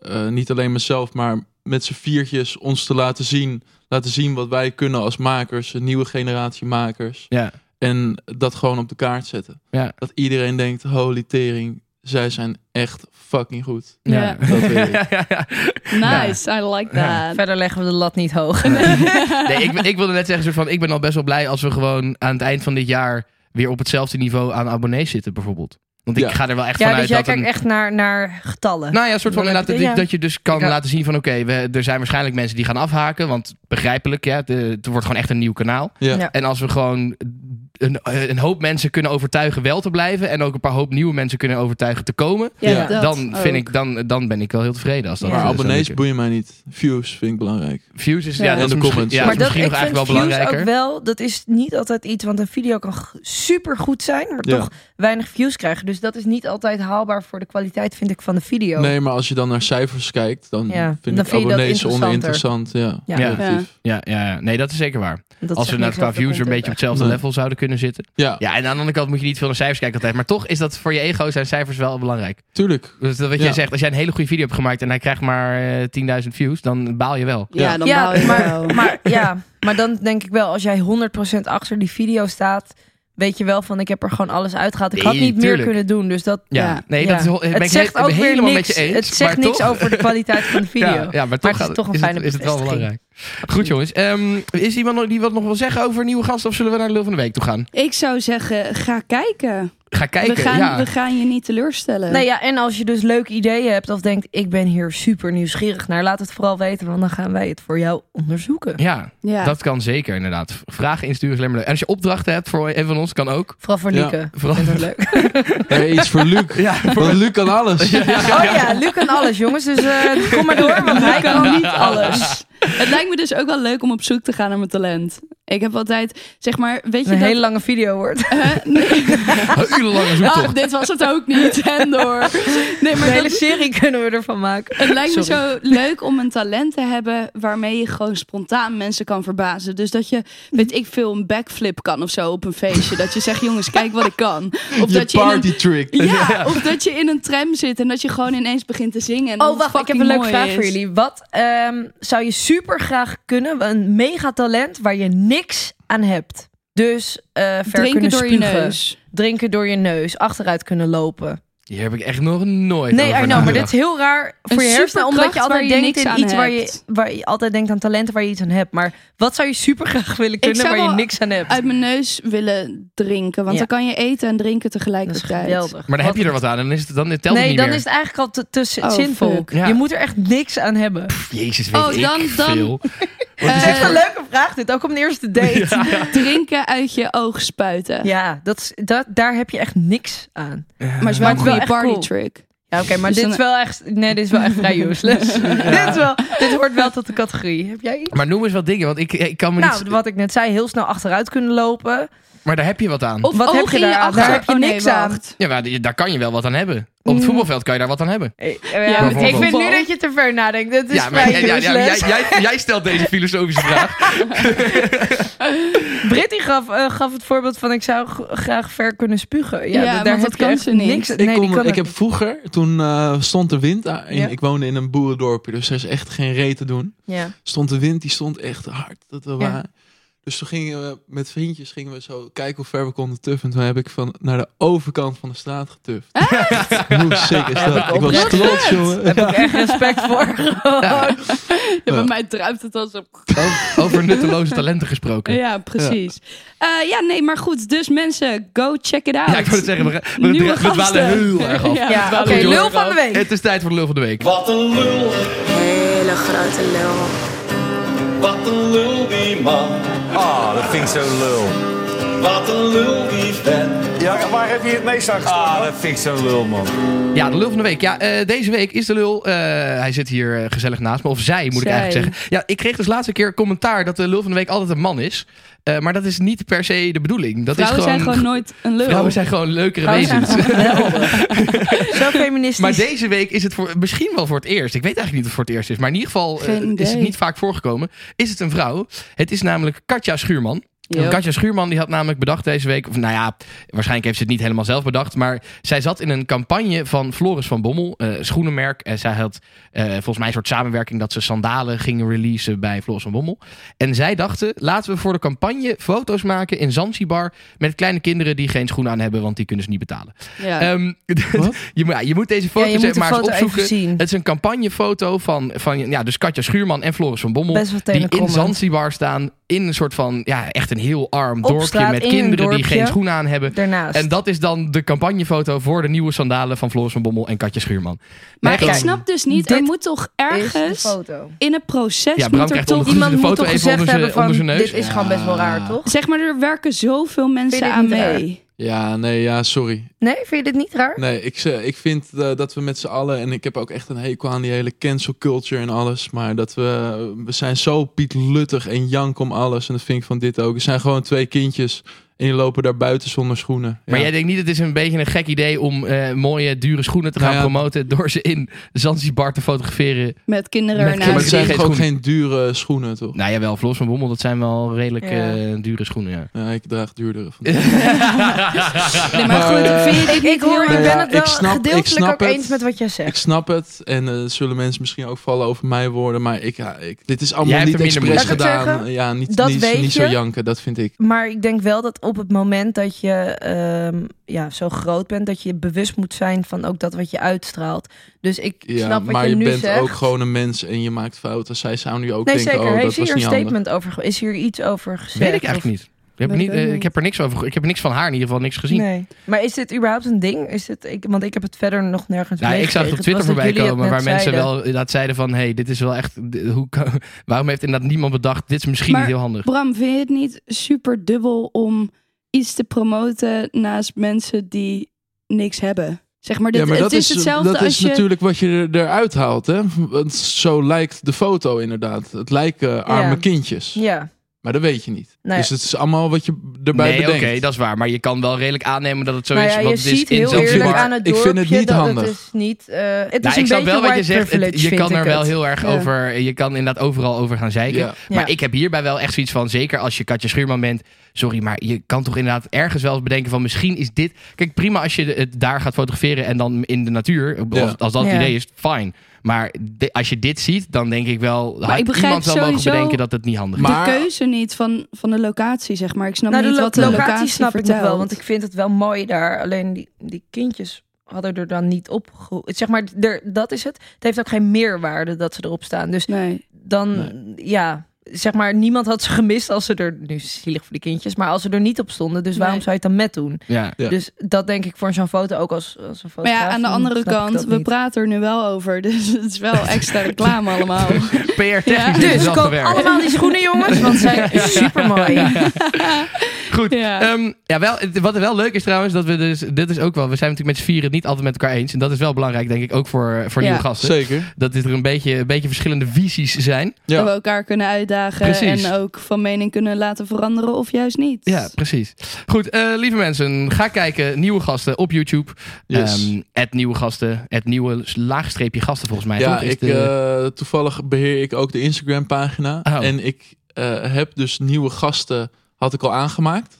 [SPEAKER 8] eh, niet alleen mezelf, maar met z'n viertjes ons te laten zien. Laten zien wat wij kunnen als makers, een nieuwe generatie makers.
[SPEAKER 5] ja.
[SPEAKER 8] En dat gewoon op de kaart zetten.
[SPEAKER 5] Ja.
[SPEAKER 8] Dat iedereen denkt, holy tering, zij zijn echt fucking goed.
[SPEAKER 5] ja.
[SPEAKER 6] Ja.
[SPEAKER 8] Dat wil ik.
[SPEAKER 6] Nice, I like
[SPEAKER 5] Ja.
[SPEAKER 6] that.
[SPEAKER 7] Verder leggen we de lat niet hoog.
[SPEAKER 5] Nee, ik, ben- ik wilde net zeggen, soort van, ik ben al best wel blij als we gewoon aan het eind van dit jaar weer op hetzelfde niveau aan abonnees zitten, bijvoorbeeld. Want ik
[SPEAKER 8] Ja.
[SPEAKER 5] ga er wel echt
[SPEAKER 7] Ja,
[SPEAKER 5] vanuit
[SPEAKER 7] dus jij
[SPEAKER 5] dat
[SPEAKER 7] kijkt
[SPEAKER 5] een-
[SPEAKER 7] echt naar, naar getallen.
[SPEAKER 5] Nou ja, een soort van
[SPEAKER 7] Dan heb
[SPEAKER 5] inderdaad, dat,
[SPEAKER 7] je- ja.
[SPEAKER 5] dat je dus kan
[SPEAKER 7] Ja.
[SPEAKER 5] laten zien van oké, we- er zijn waarschijnlijk mensen die gaan afhaken. Want begrijpelijk, ja, de, het wordt gewoon echt een nieuw kanaal.
[SPEAKER 8] Ja.
[SPEAKER 7] Ja.
[SPEAKER 5] En als we gewoon een, een hoop mensen kunnen overtuigen wel te blijven. En ook een paar hoop nieuwe mensen kunnen overtuigen te komen.
[SPEAKER 8] Ja,
[SPEAKER 6] dat
[SPEAKER 5] dan, vind
[SPEAKER 6] ook.
[SPEAKER 5] ik, dan, dan ben ik wel heel tevreden als dat.
[SPEAKER 7] Ja.
[SPEAKER 8] Maar
[SPEAKER 5] eh, zou
[SPEAKER 8] abonnees
[SPEAKER 5] lukken.
[SPEAKER 8] boeien mij niet. Views vind ik belangrijk.
[SPEAKER 5] views is ja,
[SPEAKER 7] Ja.
[SPEAKER 5] dat
[SPEAKER 8] En
[SPEAKER 5] is
[SPEAKER 8] de
[SPEAKER 5] misschien-
[SPEAKER 8] comments.
[SPEAKER 5] Ja,
[SPEAKER 8] Maar
[SPEAKER 5] is misschien nog eigenlijk wel
[SPEAKER 7] views
[SPEAKER 5] belangrijker.
[SPEAKER 7] ook wel, dat is niet altijd iets, want een video kan super goed zijn, maar
[SPEAKER 8] Ja.
[SPEAKER 7] toch weinig views krijgen. Dus dat is niet altijd haalbaar voor de kwaliteit, vind ik, van de video.
[SPEAKER 8] Nee, maar als je dan naar cijfers kijkt,
[SPEAKER 7] Ja,
[SPEAKER 8] dan vind
[SPEAKER 7] dan
[SPEAKER 8] ik
[SPEAKER 7] vind je dat
[SPEAKER 8] abonnees oninteressant. Ja,
[SPEAKER 7] Ja.
[SPEAKER 5] Ja.
[SPEAKER 8] relatief.
[SPEAKER 5] Ja, ja, ja, nee, dat is zeker waar.
[SPEAKER 7] Dat
[SPEAKER 5] als
[SPEAKER 7] zegt
[SPEAKER 5] we inderdaad
[SPEAKER 7] niks
[SPEAKER 5] qua
[SPEAKER 7] over de
[SPEAKER 5] views een beetje op
[SPEAKER 7] content
[SPEAKER 5] hetzelfde
[SPEAKER 8] Nee.
[SPEAKER 5] level zouden kunnen zitten.
[SPEAKER 8] Ja,
[SPEAKER 5] Ja, en aan de andere kant moet je niet veel naar cijfers kijken altijd. Maar toch is dat voor je ego zijn cijfers wel belangrijk.
[SPEAKER 8] tuurlijk.
[SPEAKER 5] Dus dat wat jij
[SPEAKER 8] Ja.
[SPEAKER 5] zegt, als jij een hele goede video hebt gemaakt en hij krijgt maar eh, 10.000 views, dan baal je wel.
[SPEAKER 8] Ja.
[SPEAKER 6] Ja, dan baal
[SPEAKER 7] Ja,
[SPEAKER 6] je wel.
[SPEAKER 7] maar, maar, ja, maar dan denk ik wel, als jij 100% achter die video staat, weet je wel van ik heb er gewoon alles uitgehaald. Ik had
[SPEAKER 5] Nee,
[SPEAKER 7] niet meer
[SPEAKER 5] tuurlijk.
[SPEAKER 7] kunnen doen, dus dat...
[SPEAKER 5] Ja,
[SPEAKER 6] Ja.
[SPEAKER 5] nee,
[SPEAKER 7] ja.
[SPEAKER 5] dat is, ho- ben
[SPEAKER 7] het
[SPEAKER 5] ik
[SPEAKER 7] zegt
[SPEAKER 5] he-
[SPEAKER 7] ook weer
[SPEAKER 5] helemaal
[SPEAKER 7] niks.
[SPEAKER 5] met je eens.
[SPEAKER 7] het zegt
[SPEAKER 5] maar
[SPEAKER 7] niks
[SPEAKER 5] toch,
[SPEAKER 7] over de kwaliteit van de video.
[SPEAKER 5] Ja, ja, maar, toch
[SPEAKER 7] het is
[SPEAKER 5] gaat-
[SPEAKER 7] toch een
[SPEAKER 5] het-
[SPEAKER 7] fijne
[SPEAKER 5] is het wel
[SPEAKER 7] bevestiging.
[SPEAKER 5] belangrijk. Goed jongens. Ehm, is iemand nog- die wat nog wil zeggen over nieuwe gasten? Of zullen we naar de lul van de week toe gaan?
[SPEAKER 6] Ik zou zeggen, ga kijken.
[SPEAKER 5] Ga kijken.
[SPEAKER 6] we, gaan,
[SPEAKER 5] ja.
[SPEAKER 6] we gaan je niet teleurstellen.
[SPEAKER 7] Nou ja, en als je dus leuke ideeën hebt of denkt, ik ben hier super nieuwsgierig naar, laat het vooral weten, want dan gaan wij het voor jou onderzoeken.
[SPEAKER 5] Ja,
[SPEAKER 6] Ja.
[SPEAKER 5] dat kan zeker inderdaad. Vragen insturen is alleen maar leuk. En als je opdrachten hebt voor een van ons, kan ook.
[SPEAKER 7] Vooral voor
[SPEAKER 8] Ja.
[SPEAKER 7] Lieke.
[SPEAKER 5] Vooral-
[SPEAKER 7] Vindt het leuk.
[SPEAKER 8] Nee, iets voor Luc.
[SPEAKER 5] Ja,
[SPEAKER 8] Want Luc kan alles.
[SPEAKER 7] Oh ja, Luc en alles jongens, dus eh, kom maar door, want hij kan niet alles.
[SPEAKER 6] Het lijkt me dus ook wel leuk om op zoek te gaan naar mijn talent. Ik heb altijd, zeg maar, weet je
[SPEAKER 7] Een
[SPEAKER 6] dat...
[SPEAKER 7] hele lange video wordt.
[SPEAKER 6] Hè? nee.
[SPEAKER 5] een urenlange
[SPEAKER 6] Ah,
[SPEAKER 5] zoektocht.
[SPEAKER 6] dit was het ook niet. En door. Nee,
[SPEAKER 7] Een
[SPEAKER 6] maar
[SPEAKER 7] hele
[SPEAKER 6] dat,
[SPEAKER 7] serie kunnen we ervan maken.
[SPEAKER 6] het lijkt
[SPEAKER 7] Sorry.
[SPEAKER 6] me zo leuk om een talent te hebben waarmee je gewoon spontaan mensen kan verbazen. Dus dat je, weet ik veel, een backflip kan of zo op een feestje. Dat je zegt, jongens, kijk wat ik kan. Of
[SPEAKER 8] Je
[SPEAKER 6] dat je in een
[SPEAKER 8] party trick.
[SPEAKER 6] Ja, of dat je in een tram zit en dat je gewoon ineens begint te zingen. En dat
[SPEAKER 7] Oh,
[SPEAKER 6] het
[SPEAKER 7] wacht, ik heb
[SPEAKER 6] fucking
[SPEAKER 7] een leuke
[SPEAKER 6] mooi
[SPEAKER 7] vraag
[SPEAKER 6] is.
[SPEAKER 7] voor jullie. Wat ehm, zou je super graag kunnen? Een mega talent waar je niks aan hebt. Dus eh ver
[SPEAKER 6] Drinken
[SPEAKER 7] kunnen
[SPEAKER 6] door je
[SPEAKER 7] spugen,
[SPEAKER 6] neus.
[SPEAKER 7] drinken door je neus, achteruit kunnen lopen.
[SPEAKER 5] Hier heb ik echt nog nooit
[SPEAKER 7] Nee, I
[SPEAKER 5] over
[SPEAKER 7] know, maar dit
[SPEAKER 5] nagedacht.
[SPEAKER 7] is heel raar voor
[SPEAKER 6] Een
[SPEAKER 7] je hersenen, omdat je
[SPEAKER 6] superkracht
[SPEAKER 7] altijd
[SPEAKER 6] waar je
[SPEAKER 7] denkt
[SPEAKER 6] niks
[SPEAKER 7] aan
[SPEAKER 6] aan
[SPEAKER 7] iets waar je,
[SPEAKER 6] hebt.
[SPEAKER 7] waar je altijd denkt aan talenten waar je iets aan hebt. Maar wat zou je super graag willen kunnen
[SPEAKER 6] zou
[SPEAKER 7] waar je
[SPEAKER 6] wel
[SPEAKER 7] niks aan hebt?
[SPEAKER 6] Uit mijn neus willen drinken. Want
[SPEAKER 7] Ja.
[SPEAKER 6] dan kan je eten en drinken
[SPEAKER 7] Dat is
[SPEAKER 6] tegelijkertijd.
[SPEAKER 7] geweldig.
[SPEAKER 5] Maar dan heb je
[SPEAKER 7] Wat-
[SPEAKER 5] er wat aan en dan, is het, dan telt het
[SPEAKER 7] Nee,
[SPEAKER 5] niet
[SPEAKER 7] dan
[SPEAKER 5] meer.
[SPEAKER 7] is het eigenlijk al te, te z-
[SPEAKER 6] Oh,
[SPEAKER 7] zinvol.
[SPEAKER 6] fuck.
[SPEAKER 5] Ja.
[SPEAKER 7] Je moet er echt niks aan hebben.
[SPEAKER 5] Pff, Jezus, weet
[SPEAKER 6] Oh, dan-
[SPEAKER 5] ik
[SPEAKER 6] dan-
[SPEAKER 5] veel.
[SPEAKER 6] Eh,
[SPEAKER 7] Echt een leuke vraag dit, ook op een eerste date. Ja,
[SPEAKER 6] drinken uit je oog spuiten.
[SPEAKER 7] dat is, dat, daar heb je echt niks aan.
[SPEAKER 6] Maar het is wel een
[SPEAKER 7] Maar het is wel
[SPEAKER 6] goede
[SPEAKER 7] echt
[SPEAKER 6] party
[SPEAKER 7] cool.
[SPEAKER 6] trick.
[SPEAKER 7] Ja, oké, maar
[SPEAKER 6] Dus
[SPEAKER 7] dit
[SPEAKER 6] dan-
[SPEAKER 7] is wel echt, nee, dit is wel echt vrij useless. dit, is wel, dit hoort wel tot de categorie. Heb jij iets?
[SPEAKER 5] Maar noem eens wat dingen, want ik, ik kan me
[SPEAKER 7] Nou,
[SPEAKER 5] niet...
[SPEAKER 7] wat ik net zei, heel snel achteruit kunnen lopen.
[SPEAKER 5] Maar daar heb je wat aan.
[SPEAKER 6] Of
[SPEAKER 7] Wat
[SPEAKER 6] oog
[SPEAKER 7] heb je
[SPEAKER 6] in je
[SPEAKER 7] daar aan?
[SPEAKER 6] achter.
[SPEAKER 7] Daar heb je
[SPEAKER 6] Oh, nee,
[SPEAKER 7] niks aan.
[SPEAKER 6] wacht.
[SPEAKER 5] Ja, maar daar kan je wel wat aan hebben. Op
[SPEAKER 7] Mm.
[SPEAKER 5] het voetbalveld kan je daar wat aan hebben.
[SPEAKER 7] Eh,
[SPEAKER 6] Ja,
[SPEAKER 7] Ja, ik vind
[SPEAKER 6] bijvoorbeeld.
[SPEAKER 7] nu dat je te ver nadenkt. Dat is
[SPEAKER 5] ja,
[SPEAKER 7] vrij
[SPEAKER 5] ja, ja, ja,
[SPEAKER 7] useless.
[SPEAKER 5] jij, jij, jij stelt deze filosofische vraag.
[SPEAKER 7] Britty gaf, eh, gaf het voorbeeld van ik zou g- graag ver kunnen spugen.
[SPEAKER 6] Ja,
[SPEAKER 7] Ja, d-
[SPEAKER 6] want
[SPEAKER 7] daar
[SPEAKER 6] dat
[SPEAKER 7] heb je
[SPEAKER 6] kan
[SPEAKER 7] echt
[SPEAKER 6] ze niet.
[SPEAKER 7] niks.
[SPEAKER 8] Ik,
[SPEAKER 7] die
[SPEAKER 8] kom-
[SPEAKER 7] kan
[SPEAKER 8] ik
[SPEAKER 7] ook
[SPEAKER 8] heb
[SPEAKER 7] niet.
[SPEAKER 8] vroeger, toen eh, stond de wind, aan- in-
[SPEAKER 7] Ja.
[SPEAKER 8] ik woonde in een boerendorpje, dus er is echt geen reet te doen.
[SPEAKER 7] Ja.
[SPEAKER 8] Stond de wind, die stond echt hard. Dat we waren. Dus toen gingen we met vriendjes gingen we zo kijken hoe ver we konden tuffen. En toen heb ik van naar de overkant van de straat getuft. Hoe sick is dat? Ik was
[SPEAKER 7] oprecht
[SPEAKER 8] trots, jongen.
[SPEAKER 7] Daar heb ik echt respect voor.
[SPEAKER 6] Ja, bij mij druipt het als op.
[SPEAKER 5] Over, over nutteloze talenten gesproken. Ja,
[SPEAKER 6] Ja, precies. Ja. ja, nee, maar goed. Dus mensen, go check it out.
[SPEAKER 5] ik wil het zeggen, we, we,
[SPEAKER 6] Nieuwe
[SPEAKER 5] we dwalen
[SPEAKER 6] gasten.
[SPEAKER 5] heel erg af.
[SPEAKER 6] Ja,
[SPEAKER 7] Ja,
[SPEAKER 6] wel
[SPEAKER 7] oké,
[SPEAKER 5] goed,
[SPEAKER 7] lul
[SPEAKER 5] jongen.
[SPEAKER 7] van de week.
[SPEAKER 5] Het is tijd voor de lul van de week.
[SPEAKER 11] Wat een lul,
[SPEAKER 10] Hele grote lul.
[SPEAKER 11] wat een lul die man.
[SPEAKER 12] Ah, dat vind ik zo lul.
[SPEAKER 11] Wat een lul die vent.
[SPEAKER 12] Ja, waar heb je het meest aan gestaan? Ah, dat vind ik zo lul, man.
[SPEAKER 5] Ja, de lul van de week. Ja, eh, deze week is de lul. eh, hij zit hier eh, gezellig naast me. Of zij, moet ik
[SPEAKER 6] Zij.
[SPEAKER 5] eigenlijk zeggen. Ja, ik kreeg dus laatste keer commentaar dat de lul van de week altijd een man is. Eh, maar dat is niet per se de bedoeling. Dat
[SPEAKER 6] Vrouwen
[SPEAKER 5] is gewoon,
[SPEAKER 6] zijn gewoon nooit een lul.
[SPEAKER 5] Vrouwen zijn gewoon leukere
[SPEAKER 7] Vrouwen zijn
[SPEAKER 5] wezens.
[SPEAKER 7] Zo feministisch.
[SPEAKER 5] Maar deze week is het voor, misschien wel voor het eerst. Ik weet eigenlijk niet of het voor het eerst is. Maar in ieder geval eh,
[SPEAKER 6] Geen
[SPEAKER 5] is het
[SPEAKER 6] idee.
[SPEAKER 5] niet vaak voorgekomen. Is het een vrouw? Het is namelijk Katja Schuurman.
[SPEAKER 6] Yep.
[SPEAKER 5] Katja Schuurman die had namelijk bedacht deze week. Of nou ja, waarschijnlijk heeft ze het niet helemaal zelf bedacht. Maar zij zat in een campagne van Floris van Bommel, eh, schoenenmerk. En zij had eh, volgens mij een soort samenwerking dat ze sandalen gingen releasen bij Floris van Bommel. En zij dachten, laten we voor de campagne foto's maken in Zanzibar. Met kleine kinderen die geen schoenen aan hebben, want die kunnen ze niet betalen.
[SPEAKER 6] Ja.
[SPEAKER 5] Ehm, je, moet- ja, je moet deze
[SPEAKER 7] Eh, Ja,
[SPEAKER 5] foto's
[SPEAKER 7] je moet
[SPEAKER 5] even
[SPEAKER 7] de
[SPEAKER 5] maar eens
[SPEAKER 7] foto
[SPEAKER 5] opzoeken.
[SPEAKER 7] even zien.
[SPEAKER 5] Het is een campagnefoto van, van ja, dus Katja Schuurman en Floris van Bommel.
[SPEAKER 7] Best wel
[SPEAKER 5] die in
[SPEAKER 7] tenenkrommend.
[SPEAKER 5] Zanzibar staan. In een soort van, ja, echt een heel arm dorpje
[SPEAKER 7] straat,
[SPEAKER 5] met
[SPEAKER 7] in een
[SPEAKER 5] kinderen die
[SPEAKER 7] dorpje.
[SPEAKER 5] geen schoenen aan hebben.
[SPEAKER 7] Daarnaast.
[SPEAKER 5] En dat is dan de campagnefoto voor de nieuwe sandalen van Floris van Bommel en Katja Schuurman.
[SPEAKER 6] maar
[SPEAKER 5] Echt
[SPEAKER 6] ik
[SPEAKER 5] een-
[SPEAKER 6] snap dus niet, er
[SPEAKER 7] Dit
[SPEAKER 6] moet toch
[SPEAKER 7] Is de
[SPEAKER 6] ergens
[SPEAKER 7] foto.
[SPEAKER 6] in het proces
[SPEAKER 5] Ja, Bram
[SPEAKER 6] moet er
[SPEAKER 5] krijgt
[SPEAKER 6] toch
[SPEAKER 5] ondergoed.
[SPEAKER 6] iemand...
[SPEAKER 5] de
[SPEAKER 7] Iemand
[SPEAKER 5] foto
[SPEAKER 7] moet
[SPEAKER 5] even
[SPEAKER 7] toch gezegd
[SPEAKER 5] onder zijn-
[SPEAKER 7] hebben van,
[SPEAKER 5] onder zijn neus?
[SPEAKER 7] dit is gewoon best wel raar, toch?
[SPEAKER 6] Zeg maar, er werken zoveel
[SPEAKER 7] Vind je
[SPEAKER 6] mensen
[SPEAKER 7] dit
[SPEAKER 6] aan
[SPEAKER 7] niet raar?
[SPEAKER 6] mee.
[SPEAKER 8] Ja, nee, ja, sorry.
[SPEAKER 7] Nee, vind je dit niet raar?
[SPEAKER 8] Nee, ik, ze- ik vind eh, dat we met z'n allen, en ik heb ook echt een hekel aan die hele cancel culture en alles, maar dat we, we zijn zo Piet Luttig en jank om alles. En dat vind ik van dit ook. Er zijn gewoon twee kindjes en die lopen daar buiten zonder schoenen.
[SPEAKER 5] Maar
[SPEAKER 8] Ja.
[SPEAKER 5] jij denkt niet, het is een beetje een gek idee om eh, mooie, dure schoenen te gaan
[SPEAKER 8] Nou ja.
[SPEAKER 5] promoten door ze in Zanzibar te fotograferen.
[SPEAKER 6] Met kinderen
[SPEAKER 5] Met
[SPEAKER 8] maar
[SPEAKER 6] ernaast.
[SPEAKER 8] het zijn
[SPEAKER 5] geen
[SPEAKER 8] toch ook
[SPEAKER 5] schoenen.
[SPEAKER 8] geen dure schoenen, toch?
[SPEAKER 5] Nou ja, wel, Floris van Bommel, dat zijn wel redelijk
[SPEAKER 7] Ja.
[SPEAKER 5] eh, dure schoenen, ja.
[SPEAKER 8] Ja, ik draag duurdere. Van
[SPEAKER 6] Nee, maar goed, vind je dit
[SPEAKER 7] Ik, ik
[SPEAKER 6] niet
[SPEAKER 7] hoor,
[SPEAKER 6] heel
[SPEAKER 7] ik
[SPEAKER 8] Nou
[SPEAKER 6] erg-
[SPEAKER 7] ben het
[SPEAKER 8] ja,
[SPEAKER 7] wel
[SPEAKER 8] ik snap- ik
[SPEAKER 7] gedeeltelijk
[SPEAKER 8] snap
[SPEAKER 7] ook
[SPEAKER 8] het.
[SPEAKER 7] eens met wat jij
[SPEAKER 8] Ik
[SPEAKER 7] zegt.
[SPEAKER 8] snap het. En eh, zullen mensen misschien ook vallen over mijn woorden. Maar ik, ja, ik, dit is allemaal
[SPEAKER 5] Jij hebt
[SPEAKER 8] niet
[SPEAKER 5] er minder
[SPEAKER 8] expres
[SPEAKER 7] moeite mee. Laat ik
[SPEAKER 8] gedaan.
[SPEAKER 7] het zeggen,
[SPEAKER 8] Ja, niet,
[SPEAKER 7] dat
[SPEAKER 8] niet,
[SPEAKER 7] weet
[SPEAKER 8] niet zo
[SPEAKER 7] je.
[SPEAKER 8] janken, dat vind ik.
[SPEAKER 7] Maar ik denk wel dat op het moment dat je ehm, ja, zo groot bent, dat je bewust moet zijn van ook dat wat je uitstraalt. Dus ik
[SPEAKER 8] Ja,
[SPEAKER 7] snap wat
[SPEAKER 8] maar
[SPEAKER 7] je,
[SPEAKER 8] je,
[SPEAKER 7] nu
[SPEAKER 8] bent
[SPEAKER 7] zegt.
[SPEAKER 8] ook gewoon een mens en je maakt fouten. Zij zou nu ook
[SPEAKER 7] nee,
[SPEAKER 8] denken,
[SPEAKER 7] zeker.
[SPEAKER 8] oh, dat
[SPEAKER 7] Heeft
[SPEAKER 8] was
[SPEAKER 7] hier een
[SPEAKER 8] niet handig.
[SPEAKER 7] statement over ge- Is hier iets over gezegd?
[SPEAKER 5] Weet ik eigenlijk niet. Ik heb, er
[SPEAKER 7] Dat
[SPEAKER 5] niet,
[SPEAKER 7] weet ik
[SPEAKER 5] eh, ik heb er niks over. ge- Ik heb niks van haar in ieder geval niks gezien.
[SPEAKER 7] Nee. Maar is dit überhaupt een ding? Is dit, ik, want ik heb het verder nog nergens
[SPEAKER 5] Nou, ik zag het op Twitter voorbij komen waar mensen
[SPEAKER 7] wel
[SPEAKER 5] wel inderdaad zeiden van... hey, dit is wel echt... d- Hoe, kan- waarom heeft inderdaad niemand bedacht... dit is misschien
[SPEAKER 6] Maar
[SPEAKER 5] niet heel handig.
[SPEAKER 6] Bram, vind je het niet super dubbel om iets te promoten naast mensen die niks hebben? Zeg maar, dit,
[SPEAKER 8] ja, maar
[SPEAKER 6] het
[SPEAKER 8] dat
[SPEAKER 6] is,
[SPEAKER 8] is,
[SPEAKER 6] hetzelfde
[SPEAKER 8] dat
[SPEAKER 6] als
[SPEAKER 8] is
[SPEAKER 6] je...
[SPEAKER 8] natuurlijk wat je er- eruit haalt. Hè? Want zo lijkt de foto inderdaad. Het lijken arme
[SPEAKER 7] Ja.
[SPEAKER 8] kindjes.
[SPEAKER 7] Ja. Nou
[SPEAKER 8] Maar dat weet je niet.
[SPEAKER 7] Nee.
[SPEAKER 8] Dus het is allemaal wat je erbij
[SPEAKER 5] nee, oké,
[SPEAKER 8] bedenkt.
[SPEAKER 5] dat is waar. Maar je kan wel redelijk aannemen dat het zo
[SPEAKER 7] Nou
[SPEAKER 5] is.
[SPEAKER 7] ja, je
[SPEAKER 5] want het is
[SPEAKER 7] ziet heel
[SPEAKER 5] in
[SPEAKER 8] Ik
[SPEAKER 7] eerlijk
[SPEAKER 8] vind het-
[SPEAKER 7] aan het
[SPEAKER 8] ik
[SPEAKER 7] dorpje
[SPEAKER 8] vind het niet
[SPEAKER 7] dat
[SPEAKER 8] handig.
[SPEAKER 7] het is niet... eh, het
[SPEAKER 5] Nou,
[SPEAKER 7] is
[SPEAKER 5] ik
[SPEAKER 7] een
[SPEAKER 5] snap
[SPEAKER 7] beetje
[SPEAKER 5] wel wat je
[SPEAKER 7] white
[SPEAKER 5] zegt. Het-
[SPEAKER 7] privilege,
[SPEAKER 5] je
[SPEAKER 7] vind
[SPEAKER 5] kan
[SPEAKER 7] ik
[SPEAKER 5] er wel
[SPEAKER 7] het.
[SPEAKER 5] heel erg
[SPEAKER 7] Ja.
[SPEAKER 5] over. Je kan inderdaad overal over gaan zeiken.
[SPEAKER 8] Ja.
[SPEAKER 7] Ja.
[SPEAKER 5] Maar ik heb hierbij wel echt zoiets van. Zeker als je Katja Schuurman bent. Sorry, maar je kan toch inderdaad ergens wel eens bedenken van. Misschien is dit. Kijk, prima als je het daar gaat fotograferen en dan in de natuur. Als,
[SPEAKER 8] Ja.
[SPEAKER 5] als dat het
[SPEAKER 7] Ja.
[SPEAKER 5] idee is, fijn. Maar di- als je dit ziet, dan denk ik wel.
[SPEAKER 6] ik
[SPEAKER 5] had
[SPEAKER 6] begrijp
[SPEAKER 5] iemand wel mogen
[SPEAKER 6] sowieso-
[SPEAKER 5] bedenken dat het niet handig is.
[SPEAKER 8] Maar-
[SPEAKER 6] De keuze niet van, van de locatie, zeg maar. Ik snap
[SPEAKER 7] Nou, de
[SPEAKER 6] niet
[SPEAKER 7] lo-
[SPEAKER 6] wat de locatie,
[SPEAKER 7] locatie snap ik nog
[SPEAKER 6] vertelt.
[SPEAKER 7] wel, want ik vind het wel mooi daar. Alleen die, die kindjes hadden er dan niet op... geo- Zeg maar, er, dat is het. Het heeft ook geen meerwaarde dat ze erop staan. Dus
[SPEAKER 6] Nee,
[SPEAKER 7] dan, ja... Zeg maar, niemand had ze gemist als ze er... Nu zielig voor de kindjes, maar als ze er niet op stonden. Dus waarom
[SPEAKER 6] Nee.
[SPEAKER 7] zou je het dan met doen?
[SPEAKER 5] Ja.
[SPEAKER 8] Ja.
[SPEAKER 7] Dus dat denk ik voor zo'n foto ook als, als een
[SPEAKER 6] maar
[SPEAKER 7] fotograaf.
[SPEAKER 6] ja, aan de
[SPEAKER 7] dan
[SPEAKER 6] andere
[SPEAKER 7] snap ik
[SPEAKER 6] kant,
[SPEAKER 7] dat
[SPEAKER 6] we
[SPEAKER 7] niet.
[SPEAKER 6] praten er nu wel over. Dus het is wel extra reclame allemaal.
[SPEAKER 5] PR-technisch is
[SPEAKER 6] Ja.
[SPEAKER 5] het
[SPEAKER 7] Dus
[SPEAKER 5] wel
[SPEAKER 7] koop
[SPEAKER 5] gewerkt.
[SPEAKER 7] allemaal die schoenen, jongens, want ze zijn super mooi.
[SPEAKER 5] Goed.
[SPEAKER 6] Ja.
[SPEAKER 8] Ehm,
[SPEAKER 5] Ja. Ehm, ja, wel, het- wat wel leuk is trouwens, dat we dus, dit is ook wel, we zijn natuurlijk met z'n vieren het niet altijd met elkaar eens. En dat is wel belangrijk, denk ik, ook voor, voor
[SPEAKER 6] Ja.
[SPEAKER 5] nieuwe gasten.
[SPEAKER 8] Zeker.
[SPEAKER 5] Dat dit er een beetje, een beetje verschillende visies zijn.
[SPEAKER 8] Ja.
[SPEAKER 7] Oh,
[SPEAKER 6] Dat we elkaar kunnen uitdagen
[SPEAKER 5] Precies.
[SPEAKER 6] en ook van mening kunnen laten veranderen of juist niet.
[SPEAKER 5] Ja, precies. Goed, eh, lieve mensen, ga kijken. Nieuwe gasten op YouTube.
[SPEAKER 8] Yes.
[SPEAKER 5] Ehm, het nieuwe gasten. Het nieuwe laagstreepje gasten, volgens mij.
[SPEAKER 8] Ja,
[SPEAKER 5] toch? Is
[SPEAKER 8] ik,
[SPEAKER 5] de-
[SPEAKER 8] eh, toevallig beheer ik ook de Instagram pagina.
[SPEAKER 5] Oh.
[SPEAKER 8] En ik eh, heb dus nieuwe gasten, had ik al aangemaakt.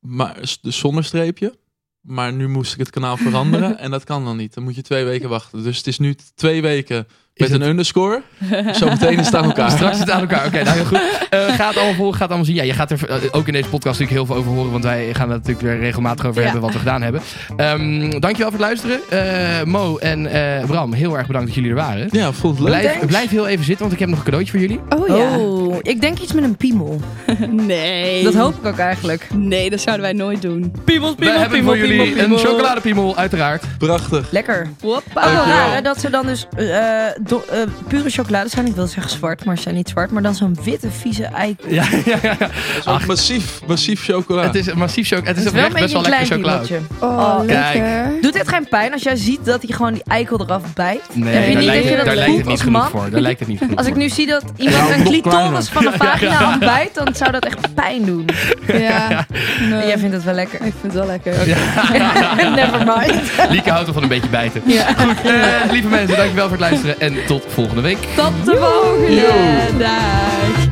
[SPEAKER 8] Maar s- dus zonder streepje. Maar nu moest ik het kanaal veranderen. en dat kan dan niet. Dan moet je twee weken wachten. Dus het is nu t- twee weken met
[SPEAKER 5] het-
[SPEAKER 8] een underscore. Zometeen is het aan elkaar.
[SPEAKER 5] Straks zit het aan elkaar. Oké, nou heel goed. Eh ga het allemaal volgen, ga het allemaal zien. Ja, je gaat er eh, ook in deze podcast natuurlijk heel veel over horen. Want wij gaan het natuurlijk weer regelmatig over
[SPEAKER 6] Ja.
[SPEAKER 5] hebben wat we gedaan hebben. Ehm, dankjewel voor het luisteren. Eh, Mo en eh, Bram, heel erg bedankt dat jullie er waren.
[SPEAKER 8] Ja, voelt leuk.
[SPEAKER 5] Blijf, blijf heel even zitten, want ik heb nog een cadeautje voor jullie.
[SPEAKER 6] Oh ja.
[SPEAKER 7] Oh, ik denk iets met een piemel.
[SPEAKER 6] Nee.
[SPEAKER 7] Dat hoop ik ook eigenlijk.
[SPEAKER 6] Nee, dat zouden wij nooit doen.
[SPEAKER 7] Piemels,
[SPEAKER 5] We hebben voor jullie een chocoladepiemel, uiteraard.
[SPEAKER 8] Prachtig.
[SPEAKER 7] Lekker.
[SPEAKER 6] Hoppa.
[SPEAKER 7] Ook wel
[SPEAKER 5] Oh,
[SPEAKER 7] raar hè, dat ze dan dus eh, eh, do- eh, pure chocolade zijn. Ik wil zeggen zwart, maar ze zijn niet zwart. Maar dan zo'n witte, vieze ei.
[SPEAKER 5] Ja, ja, ja.
[SPEAKER 8] Dat is ook massief, massief chocola.
[SPEAKER 5] Het is een massief chocolade. Het is oprecht best wel lekker chocolade.
[SPEAKER 7] piemeltje.
[SPEAKER 6] Oh,
[SPEAKER 5] Kijk.
[SPEAKER 6] lekker.
[SPEAKER 7] Doet dit geen pijn als jij ziet dat hij gewoon die eikel eraf bijt?
[SPEAKER 5] Nee,
[SPEAKER 7] Heb je
[SPEAKER 5] daar
[SPEAKER 7] niet
[SPEAKER 5] lijkt,
[SPEAKER 7] dat je dat
[SPEAKER 5] daar lijkt het
[SPEAKER 7] voelt
[SPEAKER 5] niet
[SPEAKER 7] als
[SPEAKER 5] genoeg
[SPEAKER 7] man?
[SPEAKER 5] voor. Daar lijkt het niet genoeg
[SPEAKER 7] Als ik
[SPEAKER 5] voor.
[SPEAKER 7] nu zie dat iemand een clitoris van een vagina afbijt, dan zou dat echt pijn doen.
[SPEAKER 6] Ja. Nee.
[SPEAKER 7] Jij vindt het wel lekker.
[SPEAKER 6] Ik vind het wel lekker.
[SPEAKER 7] Never mind.
[SPEAKER 5] Lieke houdt er van een beetje bijten. Goed, eh, lieve mensen, dankjewel voor het luisteren. En tot volgende week.
[SPEAKER 6] Tot de volgende. Dag.